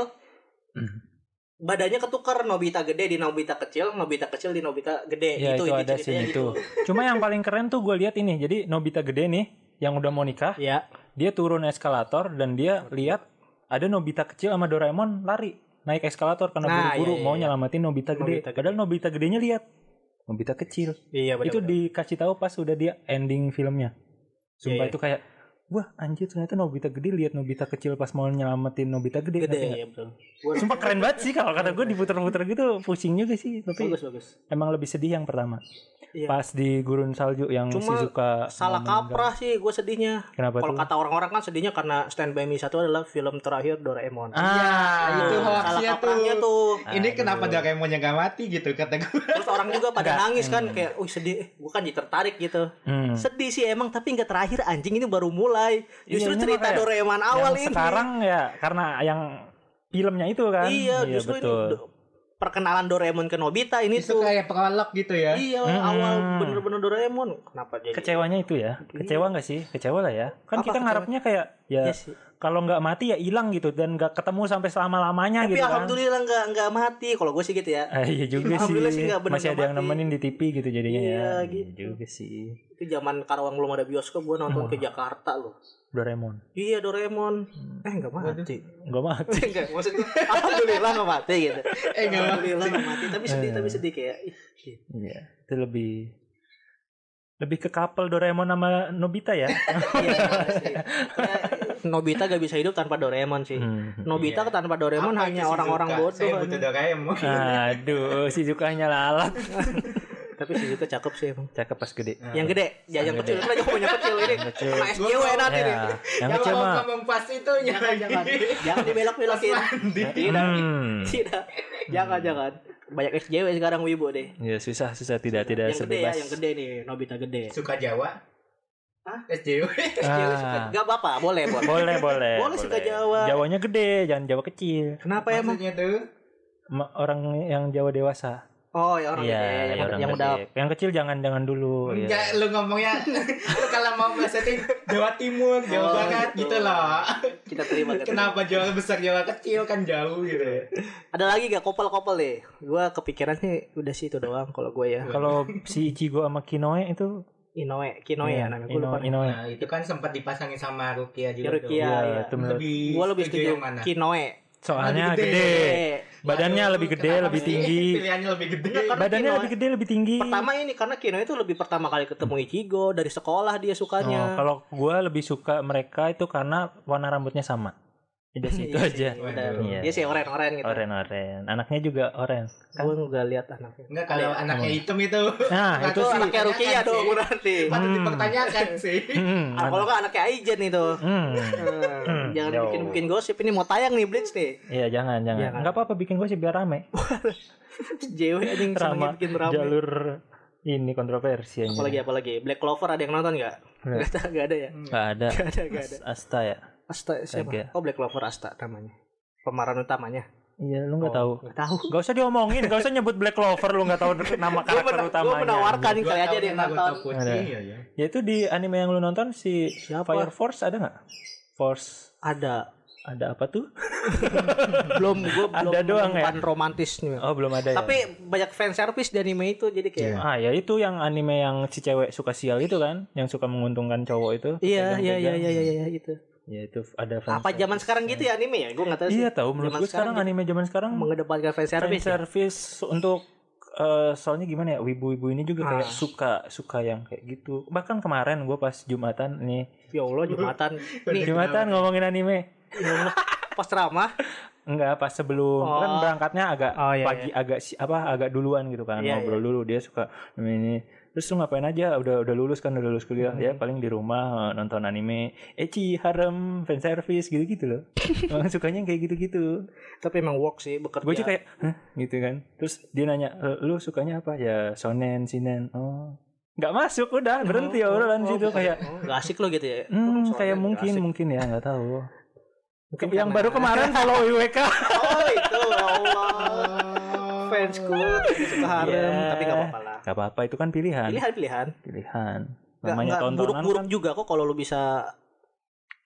[SPEAKER 2] Hmm.
[SPEAKER 1] Badannya ketukar Nobita gede di Nobita kecil, Nobita kecil di Nobita gede.
[SPEAKER 2] Ya, itu
[SPEAKER 1] inti
[SPEAKER 2] ada
[SPEAKER 1] ceritanya gitu.
[SPEAKER 2] scene itu. Cuma yang paling keren tuh gue lihat ini. Jadi Nobita gede nih yang udah mau nikah,
[SPEAKER 1] Ya,
[SPEAKER 2] dia turun eskalator dan dia lihat ada Nobita kecil sama Doraemon lari naik eskalator karena
[SPEAKER 1] Nah,
[SPEAKER 2] buru-buru
[SPEAKER 1] iya, iya,
[SPEAKER 2] mau
[SPEAKER 1] iya.
[SPEAKER 2] nyelamatin Nobita gede.
[SPEAKER 1] Nobita gede.
[SPEAKER 2] Padahal Nobita gedenya lihat Nobita kecil.
[SPEAKER 1] iya benar.
[SPEAKER 2] itu dikasih tahu pas udah dia ending filmnya. Sumpah
[SPEAKER 1] Iya, iya.
[SPEAKER 2] itu kayak wah anjir ternyata Nobita gede lihat Nobita kecil pas mau nyelamatin Nobita gede.
[SPEAKER 1] gede
[SPEAKER 2] ngerti nggak?
[SPEAKER 1] ya betul. Gua-
[SPEAKER 2] Sumpah keren banget sih kalau kata gue diputer-puter gitu pusing juga sih tapi
[SPEAKER 1] bagus bagus.
[SPEAKER 2] emang lebih sedih yang pertama.
[SPEAKER 1] Iya.
[SPEAKER 2] Pas di gurun salju yang
[SPEAKER 1] Cuma
[SPEAKER 2] Shizuka
[SPEAKER 1] Salah
[SPEAKER 2] mau meninggal.
[SPEAKER 1] kaprah sih gue sedihnya.
[SPEAKER 2] Kenapa
[SPEAKER 1] Kalau
[SPEAKER 2] tuh?
[SPEAKER 1] kata orang-orang kan sedihnya karena Stand By Me satu adalah film terakhir Doraemon.
[SPEAKER 3] Ah, itu
[SPEAKER 1] Nah, salah
[SPEAKER 3] hoaxnya tuh.
[SPEAKER 1] kaprahnya tuh.
[SPEAKER 3] Ini
[SPEAKER 2] Aduh.
[SPEAKER 3] kenapa Doraemonnya nggak mati gitu kata gue.
[SPEAKER 1] Terus orang juga pada
[SPEAKER 2] Nggak.
[SPEAKER 1] nangis kan
[SPEAKER 2] Hmm.
[SPEAKER 1] kayak, "Uh, sedih." Gue kan jadi tertarik gitu.
[SPEAKER 2] Hmm.
[SPEAKER 1] Sedih sih emang tapi nggak terakhir anjing ini baru mulai.
[SPEAKER 2] Iya,
[SPEAKER 1] Justru
[SPEAKER 2] ini makanya.
[SPEAKER 1] cerita Doraemon awal
[SPEAKER 2] yang
[SPEAKER 1] ini.
[SPEAKER 2] sekarang ya karena yang filmnya itu kan.
[SPEAKER 1] iya, justru ini
[SPEAKER 2] betul.
[SPEAKER 1] do- perkenalan Doraemon ke Nobita ini
[SPEAKER 3] Itu
[SPEAKER 1] tuh.
[SPEAKER 3] kayak prolog gitu ya.
[SPEAKER 1] Iya,
[SPEAKER 2] Hmm.
[SPEAKER 1] awal bener-bener Doraemon. Kenapa jadi?
[SPEAKER 2] Kecewanya itu ya. Kecewa nggak sih? Kecewa lah ya. Kan
[SPEAKER 1] Iya. Apa
[SPEAKER 2] kita
[SPEAKER 1] kecewa?
[SPEAKER 2] ngarepnya kayak ya
[SPEAKER 1] Iya sih.
[SPEAKER 2] kalau nggak mati ya hilang gitu dan nggak ketemu sampai selama lamanya
[SPEAKER 1] Tapi
[SPEAKER 2] gitu kan.
[SPEAKER 1] alhamdulillah nggak nggak mati. Kalau gue sih gitu ya.
[SPEAKER 2] Ah, iya juga sih.
[SPEAKER 1] Alhamdulillah sih nggak bener
[SPEAKER 2] Masih ada yang
[SPEAKER 1] mati.
[SPEAKER 2] nemenin di TV gitu jadinya
[SPEAKER 1] Iya,
[SPEAKER 2] ya.
[SPEAKER 1] gitu.
[SPEAKER 2] juga sih.
[SPEAKER 1] Itu zaman Karawang belum ada bioskop, gue nonton
[SPEAKER 2] Hmm.
[SPEAKER 1] ke Jakarta loh.
[SPEAKER 2] Doraemon.
[SPEAKER 1] Iya Doraemon.
[SPEAKER 2] Hmm.
[SPEAKER 1] Eh nggak mati.
[SPEAKER 2] Gak mati.
[SPEAKER 1] Enggak, maksud gue alhamdulillah nggak mati gitu.
[SPEAKER 3] Eh nggak mati.
[SPEAKER 2] Eh.
[SPEAKER 1] alhamdulillah nggak mati. Tapi sedih, tapi sedih kayak. ih,
[SPEAKER 2] Iya. Itu lebih Lebih ke couple Doraemon sama Nobita ya.
[SPEAKER 1] Iya, sih. Ya, Nobita gak bisa hidup tanpa Doraemon sih.
[SPEAKER 2] Hmm.
[SPEAKER 1] Nobita
[SPEAKER 3] Iya.
[SPEAKER 1] tanpa Doraemon
[SPEAKER 3] Apa
[SPEAKER 1] hanya
[SPEAKER 3] itu
[SPEAKER 1] orang-orang
[SPEAKER 3] Shizuka?
[SPEAKER 1] bodoh.
[SPEAKER 3] Saya butuh Doraemon.
[SPEAKER 2] Aduh, si Zukanya lalat.
[SPEAKER 1] Tapi Shizuka cakep sih emang.
[SPEAKER 2] Cakep pas gede.
[SPEAKER 1] Yang gede, ya yang
[SPEAKER 2] gede.
[SPEAKER 1] kecil. Kita juga punya kecil ini.
[SPEAKER 2] Yang kecil.
[SPEAKER 1] Sama SJW nanti nih.
[SPEAKER 2] Ya, yang
[SPEAKER 3] Jangan
[SPEAKER 2] kecil
[SPEAKER 3] mau
[SPEAKER 2] mah.
[SPEAKER 3] ngomong pas itu
[SPEAKER 1] Jangan, jangan. Jangan
[SPEAKER 3] Pas
[SPEAKER 1] dibelok-belokin.
[SPEAKER 3] mandi.
[SPEAKER 1] Tidak,
[SPEAKER 2] Hmm.
[SPEAKER 1] tidak. Jangan, jangan. Banyak SJW sekarang Wibo deh.
[SPEAKER 2] Ya susah susah tidak tidak
[SPEAKER 1] yang gede ya,
[SPEAKER 2] sebebas.
[SPEAKER 1] yang gede nih, Nobita gede.
[SPEAKER 3] Suka Jawa.
[SPEAKER 1] Hah?
[SPEAKER 3] SJW.
[SPEAKER 1] SJW suka,
[SPEAKER 2] Ah,
[SPEAKER 1] gak apa-apa, boleh, boleh.
[SPEAKER 2] boleh boleh.
[SPEAKER 1] Boleh suka Jawa.
[SPEAKER 2] Jawanya gede, jangan Jawa kecil.
[SPEAKER 1] Kenapa emang?
[SPEAKER 3] Maksudnya tuh
[SPEAKER 2] Ma- Orang yang Jawa dewasa.
[SPEAKER 1] Oh, ya orang
[SPEAKER 2] Iya,
[SPEAKER 1] gede,
[SPEAKER 2] ya
[SPEAKER 1] yang, Hmm,
[SPEAKER 2] orang
[SPEAKER 1] yang
[SPEAKER 2] gede.
[SPEAKER 1] udah
[SPEAKER 2] Yang kecil jangan jangan
[SPEAKER 1] Oh,
[SPEAKER 2] dulu.
[SPEAKER 1] iya.
[SPEAKER 2] ya.
[SPEAKER 3] Enggak, lu ngomongnya lu kalau mau presetin Jawa Timur, Jawa
[SPEAKER 1] Oh,
[SPEAKER 3] Barat
[SPEAKER 1] gitu.
[SPEAKER 3] gitu loh.
[SPEAKER 1] kita terima. kita terima.
[SPEAKER 3] Kenapa Jawa besar, Jawa kecil kan jauh gitu ya.
[SPEAKER 1] Ada lagi gak kopel-kopel deh? Gua kepikiran sih udah sih itu doang kalau gue ya.
[SPEAKER 2] Kalau si Ichigo sama Kinoe itu
[SPEAKER 1] Inoue, Kinoe
[SPEAKER 2] Iya,
[SPEAKER 1] ya namanya. Gue
[SPEAKER 2] Inoe,
[SPEAKER 1] lupa.
[SPEAKER 2] Inoe.
[SPEAKER 3] Nah, itu kan sempat dipasangin sama Rukia juga. tuh.
[SPEAKER 1] Rukia. Iya, iya.
[SPEAKER 2] itu menurut-
[SPEAKER 3] Lebih
[SPEAKER 1] Gue lebih setuju
[SPEAKER 3] yang mana?
[SPEAKER 1] Kinoe.
[SPEAKER 2] Soalnya
[SPEAKER 3] Lebih gede.
[SPEAKER 2] gede.
[SPEAKER 1] Eh,
[SPEAKER 2] Badannya
[SPEAKER 3] Aduh,
[SPEAKER 2] lebih gede,
[SPEAKER 3] kenapa
[SPEAKER 2] lebih
[SPEAKER 3] sih
[SPEAKER 2] tinggi.
[SPEAKER 3] Pilihannya lebih gede.
[SPEAKER 1] Enggak, karena
[SPEAKER 2] Badannya
[SPEAKER 1] Kinoe-
[SPEAKER 2] lebih gede, lebih tinggi.
[SPEAKER 1] Pertama ini karena Kinoe itu lebih pertama kali ketemu Ichigo dari sekolah dia
[SPEAKER 2] Oh,
[SPEAKER 1] sukanya.
[SPEAKER 2] kalau gua lebih suka mereka itu karena warna rambutnya sama. Udah sih itu
[SPEAKER 1] Iya
[SPEAKER 2] gitu aja.
[SPEAKER 1] sih, benar.
[SPEAKER 2] Iya.
[SPEAKER 1] Dia sih oren-oren gitu.
[SPEAKER 2] Oren-oren. Anaknya juga oren.
[SPEAKER 1] Gue nggak lihat anaknya.
[SPEAKER 3] Enggak kalau
[SPEAKER 1] Iya.
[SPEAKER 3] anaknya
[SPEAKER 2] Iya.
[SPEAKER 3] hitam itu
[SPEAKER 2] Nah,
[SPEAKER 1] Nah,
[SPEAKER 2] itu
[SPEAKER 1] itu
[SPEAKER 2] sih.
[SPEAKER 1] anaknya Rukia
[SPEAKER 3] Dipertanyakan
[SPEAKER 1] dong
[SPEAKER 3] sih.
[SPEAKER 1] nanti.
[SPEAKER 3] patut
[SPEAKER 2] Hmm.
[SPEAKER 3] dipertanyakan sih.
[SPEAKER 2] Hmm,
[SPEAKER 1] Ah, kalau nggak anaknya Aizen itu.
[SPEAKER 2] hmm.
[SPEAKER 1] Hmm, jangan
[SPEAKER 2] Yo.
[SPEAKER 1] bikin bikin gosip ini mau tayang nih Blitz nih.
[SPEAKER 2] Iya, jangan, jangan.
[SPEAKER 1] Jangan.
[SPEAKER 2] Enggak apa-apa bikin gosip biar rame.
[SPEAKER 1] JW anjing
[SPEAKER 2] Drama,
[SPEAKER 1] senengnya bikin rame.
[SPEAKER 2] Jalur ini kontroversi aja.
[SPEAKER 1] Apalagi apalagi Black Clover ada yang nonton nggak?
[SPEAKER 2] Nggak.
[SPEAKER 1] Nggak ada- nggak ada ya.
[SPEAKER 2] Enggak ada.
[SPEAKER 1] Nggak ada nggak ada.
[SPEAKER 2] Asta ya.
[SPEAKER 1] Asta siapa?
[SPEAKER 2] Kagak.
[SPEAKER 1] Oh Black Clover Asta namanya. Pemeran utamanya.
[SPEAKER 2] Iya, lu enggak
[SPEAKER 1] Oh,
[SPEAKER 2] tahu.
[SPEAKER 1] Nggak tahu.
[SPEAKER 2] Gak usah diomongin, gak usah nyebut Black Clover lu gak tahu nama
[SPEAKER 1] Gue
[SPEAKER 2] karakter utamanya.
[SPEAKER 1] menawarkan
[SPEAKER 3] Dua
[SPEAKER 1] kali aja
[SPEAKER 3] tahun
[SPEAKER 1] dia
[SPEAKER 3] yang lagu tahu
[SPEAKER 1] nonton.
[SPEAKER 3] putih,
[SPEAKER 2] Ada.
[SPEAKER 3] iya, iya.
[SPEAKER 2] Ya itu di anime yang lu nonton si
[SPEAKER 1] Siapa?
[SPEAKER 2] Fire Force ada nggak? Force
[SPEAKER 1] Ada.
[SPEAKER 2] ada apa tuh?
[SPEAKER 1] Belum gue belum
[SPEAKER 2] Ada doang ya?
[SPEAKER 1] menemukan romantisnya.
[SPEAKER 2] Oh belum ada ya.
[SPEAKER 1] Tapi banyak fan service di anime itu jadi kayak
[SPEAKER 2] ah ya itu yang anime yang si cewek suka sial itu kan, yang suka menguntungkan cowok itu.
[SPEAKER 1] Iya, iya, iya,
[SPEAKER 2] Pegang-pegang.
[SPEAKER 1] iya, iya, iya, gitu.
[SPEAKER 2] Ya itu ada fans.
[SPEAKER 1] Apa zaman sekarang gitu ya anime ya? Gue nggak tahu sih.
[SPEAKER 2] Iya tahu menurut
[SPEAKER 1] Zaman
[SPEAKER 2] gue sekarang
[SPEAKER 1] sekarang
[SPEAKER 2] anime zaman sekarang
[SPEAKER 1] Mengedepankan fan
[SPEAKER 2] fan
[SPEAKER 1] service. ya?
[SPEAKER 2] service untuk eh, soalnya gimana ya wibu-wibu ini juga kayak
[SPEAKER 1] Ah.
[SPEAKER 2] suka suka yang kayak gitu bahkan kemarin gue pas jumatan nih
[SPEAKER 1] Ya Allah, jumatan. Nih,
[SPEAKER 2] jumatan ngomongin anime
[SPEAKER 1] ya Allah. Pas ceramah.
[SPEAKER 2] Enggak pas sebelum
[SPEAKER 1] Oh.
[SPEAKER 2] kan berangkatnya agak
[SPEAKER 1] Oh, iya,
[SPEAKER 2] pagi agak si- apa agak duluan gitu kan
[SPEAKER 1] Iya,
[SPEAKER 2] ngobrol dulu dia suka ini, ini. terus lu ngapain aja udah udah lulus kan udah lulus
[SPEAKER 1] Hmm.
[SPEAKER 2] kuliah ya paling di rumah eh, nonton anime ecchi harem fan service gitu gitu loh Emang sukanya yang kayak gitu gitu
[SPEAKER 1] Tapi emang work sih bekerja.
[SPEAKER 2] gue juga kayak Hah? gitu kan terus dia nanya "E, lu sukanya apa ya shonen shinen oh nggak masuk udah berhenti ya obrolan situ kayak
[SPEAKER 1] Gak asik lo gitu ya.
[SPEAKER 2] hmm,
[SPEAKER 1] Oh, Soalnya
[SPEAKER 2] kayak
[SPEAKER 1] gak
[SPEAKER 2] mungkin
[SPEAKER 1] asik.
[SPEAKER 2] mungkin ya nggak tahu
[SPEAKER 1] Mungkin
[SPEAKER 2] yang
[SPEAKER 1] karena- ya.
[SPEAKER 2] baru kemarin follow IWK
[SPEAKER 1] Oh, itu ya Allah.
[SPEAKER 3] Oh.
[SPEAKER 1] Fansku suka harem,
[SPEAKER 2] Iya.
[SPEAKER 1] tapi gak apa-apa lah.
[SPEAKER 2] nggak apa-apa itu kan pilihan
[SPEAKER 1] Pilihan-pilihan.
[SPEAKER 2] pilihan
[SPEAKER 1] Gak,
[SPEAKER 2] namanya
[SPEAKER 1] gak
[SPEAKER 2] tontonan
[SPEAKER 1] buruk-buruk
[SPEAKER 2] kan Nah,
[SPEAKER 1] juga kok kalau lu bisa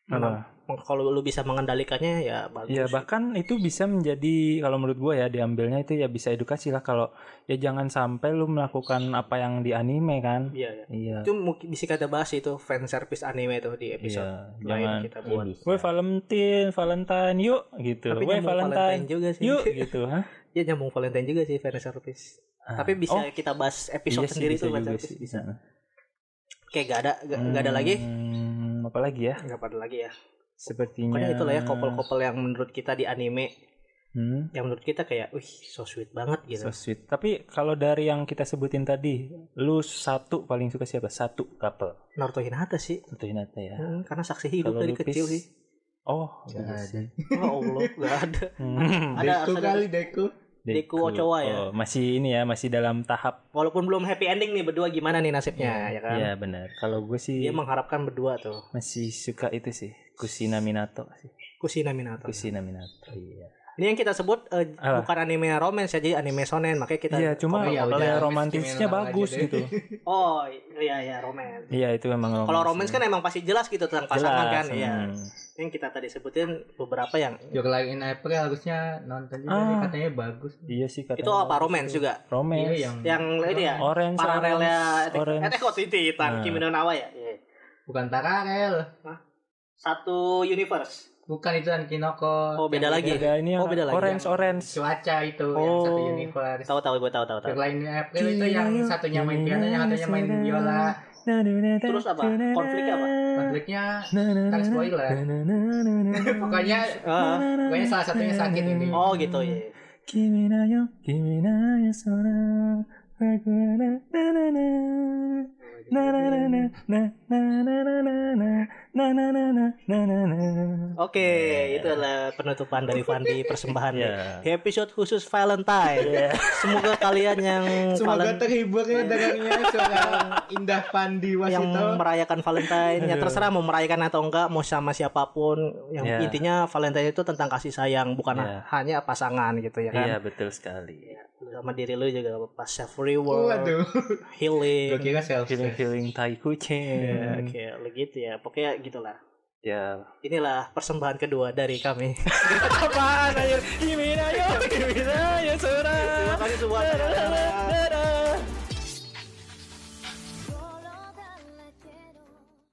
[SPEAKER 2] apa?
[SPEAKER 1] kalau lu bisa mengendalikannya ya bagus.
[SPEAKER 2] ya bahkan itu bisa menjadi kalau menurut gue ya diambilnya itu ya bisa edukasi lah kalau ya jangan sampai lu melakukan apa yang di anime kan
[SPEAKER 1] Iya, iya.
[SPEAKER 2] iya
[SPEAKER 1] Itu mungkin bisa kita bahas itu fan service anime itu di episode
[SPEAKER 2] iya
[SPEAKER 1] lain
[SPEAKER 2] jangan
[SPEAKER 1] kita buat.
[SPEAKER 2] Woi Valentine, Valentine yuk gitu.
[SPEAKER 1] Tapi
[SPEAKER 2] Woi
[SPEAKER 1] nyambung Valentine
[SPEAKER 2] Valentine,
[SPEAKER 1] juga sih.
[SPEAKER 2] yuk gitu. Hah?
[SPEAKER 1] Iya nyambung Valentine juga sih fan service.
[SPEAKER 2] Ah,
[SPEAKER 1] Tapi bisa
[SPEAKER 2] oh,
[SPEAKER 1] kita bahas episode
[SPEAKER 2] iya sih,
[SPEAKER 1] sendiri
[SPEAKER 2] bisa
[SPEAKER 1] tuh fan
[SPEAKER 2] juga
[SPEAKER 1] service
[SPEAKER 2] sih.
[SPEAKER 1] bisa. Kayak gak ada gak, gak ada lagi.
[SPEAKER 2] Hmm, apa lagi ya?
[SPEAKER 1] Gak ada lagi ya.
[SPEAKER 2] Sepertinya
[SPEAKER 1] Pokoknya itulah ya kopel-kopel yang menurut kita di anime
[SPEAKER 2] Hmm.
[SPEAKER 1] yang menurut kita kayak wih so sweet banget
[SPEAKER 2] So
[SPEAKER 1] gitu.
[SPEAKER 2] sweet. Tapi kalau dari yang kita sebutin tadi, lu satu paling suka siapa? Satu couple.
[SPEAKER 1] Naruto Hinata sih.
[SPEAKER 2] Satu Hinata ya.
[SPEAKER 1] Hmm, karena saksi hidup
[SPEAKER 2] Kalau
[SPEAKER 1] dari
[SPEAKER 2] Lupis-
[SPEAKER 1] kecil sih.
[SPEAKER 2] Oh, iya
[SPEAKER 3] Nggak ada.
[SPEAKER 2] sih.
[SPEAKER 1] Oh Allah, gak ada.
[SPEAKER 2] Hmm.
[SPEAKER 1] Ada-
[SPEAKER 3] Deku
[SPEAKER 1] ada-
[SPEAKER 3] kali Deku.
[SPEAKER 1] Deku Ochoa ya?
[SPEAKER 2] Oh, masih ini ya, masih dalam tahap.
[SPEAKER 1] Walaupun belum happy ending nih berdua gimana nih nasibnya ya kan.
[SPEAKER 2] Iya benar. Kalau gue sih
[SPEAKER 1] Dia mengharapkan berdua tuh.
[SPEAKER 2] masih suka itu sih, Kusina Minato sih.
[SPEAKER 1] Kusina Minato.
[SPEAKER 2] Kusina Minato. Iya.
[SPEAKER 1] Ini yang kita sebut eh,
[SPEAKER 2] Apa?
[SPEAKER 1] bukan anime romance ya, jadi anime shonen. Makanya kita Oh,
[SPEAKER 2] Iya, cuma
[SPEAKER 1] komen.
[SPEAKER 3] ya
[SPEAKER 2] kalau
[SPEAKER 3] udah,
[SPEAKER 2] yang
[SPEAKER 3] Miss
[SPEAKER 2] romantisnya
[SPEAKER 3] Criminal aja
[SPEAKER 2] bagus
[SPEAKER 3] deh.
[SPEAKER 2] gitu.
[SPEAKER 1] Oh iya iya romance.
[SPEAKER 2] Iya itu memang
[SPEAKER 1] Kalau romance kan emang pasti jelas gitu tentang pasangan kan.
[SPEAKER 2] Jelas,
[SPEAKER 1] Iya.
[SPEAKER 2] hmm.
[SPEAKER 1] Yang kita tadi sebutin beberapa yang
[SPEAKER 3] Your Lie in April harusnya nonton juga
[SPEAKER 2] Ah.
[SPEAKER 3] nih, katanya bagus.
[SPEAKER 2] Iya sih katanya.
[SPEAKER 1] itu apa romance
[SPEAKER 2] gitu.
[SPEAKER 1] juga.
[SPEAKER 2] Romance.
[SPEAKER 3] Iya, yang-
[SPEAKER 1] Yang itu ya
[SPEAKER 2] Orange.
[SPEAKER 1] paralelnya Eh,
[SPEAKER 2] Orange, orange.
[SPEAKER 1] Attack on Titan,
[SPEAKER 2] Nah.
[SPEAKER 1] Kimi no Na wa ya. Iya.
[SPEAKER 3] Bukan Tararel,
[SPEAKER 1] Satu universe.
[SPEAKER 3] bukan itu dan Kinoko.
[SPEAKER 1] Oh, beda
[SPEAKER 3] Yang
[SPEAKER 1] lagi.
[SPEAKER 2] Ada ini yang
[SPEAKER 1] Oh, beda lagi.
[SPEAKER 2] orange orange.
[SPEAKER 3] Cuaca itu yang satu
[SPEAKER 1] Oh.
[SPEAKER 3] universe.
[SPEAKER 1] Tahu tahu gue tahu tahu tahu.
[SPEAKER 3] Your Lie in April itu yang satunya main piano, yang satunya main viola.
[SPEAKER 1] Terus apa? Konfliknya apa?
[SPEAKER 3] konfliknya Kan spoiler. pokoknya
[SPEAKER 1] Ah,
[SPEAKER 3] pokoknya salah satunya sakit ini.
[SPEAKER 1] oh gitu ya.
[SPEAKER 2] Kimi na yo, kimi na yo sora, aku na na na na, na na na na, na na na na na na, na na na na na na na.
[SPEAKER 1] Oke,
[SPEAKER 2] Yeah.
[SPEAKER 1] itulah penutupan dari Fandi persembahan nih.
[SPEAKER 2] Ya.
[SPEAKER 1] Di Episode khusus Valentine.
[SPEAKER 2] Ya.
[SPEAKER 1] Semoga kalian yang
[SPEAKER 3] Semoga
[SPEAKER 1] valen-
[SPEAKER 3] terhibur ya dengarnya seorang Indah Pandi
[SPEAKER 1] yang
[SPEAKER 3] Wasito.
[SPEAKER 1] merayakan Valentine, ya
[SPEAKER 2] Aduh.
[SPEAKER 1] terserah mau merayakan atau enggak, mau sama siapapun. Yang
[SPEAKER 2] Ya.
[SPEAKER 1] intinya Valentine itu tentang kasih sayang, bukan
[SPEAKER 2] Ya.
[SPEAKER 1] hanya pasangan gitu ya kan.
[SPEAKER 2] Iya betul sekali.
[SPEAKER 1] Sama diri lu juga pas self reward,
[SPEAKER 3] Waduh, gue
[SPEAKER 1] healing.
[SPEAKER 3] kira self
[SPEAKER 2] Feeling feeling tai
[SPEAKER 1] Ya,
[SPEAKER 2] kucing.
[SPEAKER 1] Oke, begitu ya. Pokoknya gitulah.
[SPEAKER 2] Ya.
[SPEAKER 1] Iya, Inilah persembahan kedua dari kami.
[SPEAKER 2] Apaan aja? Kimi na yo, kimi na yo sora.
[SPEAKER 1] Terima kasih semua.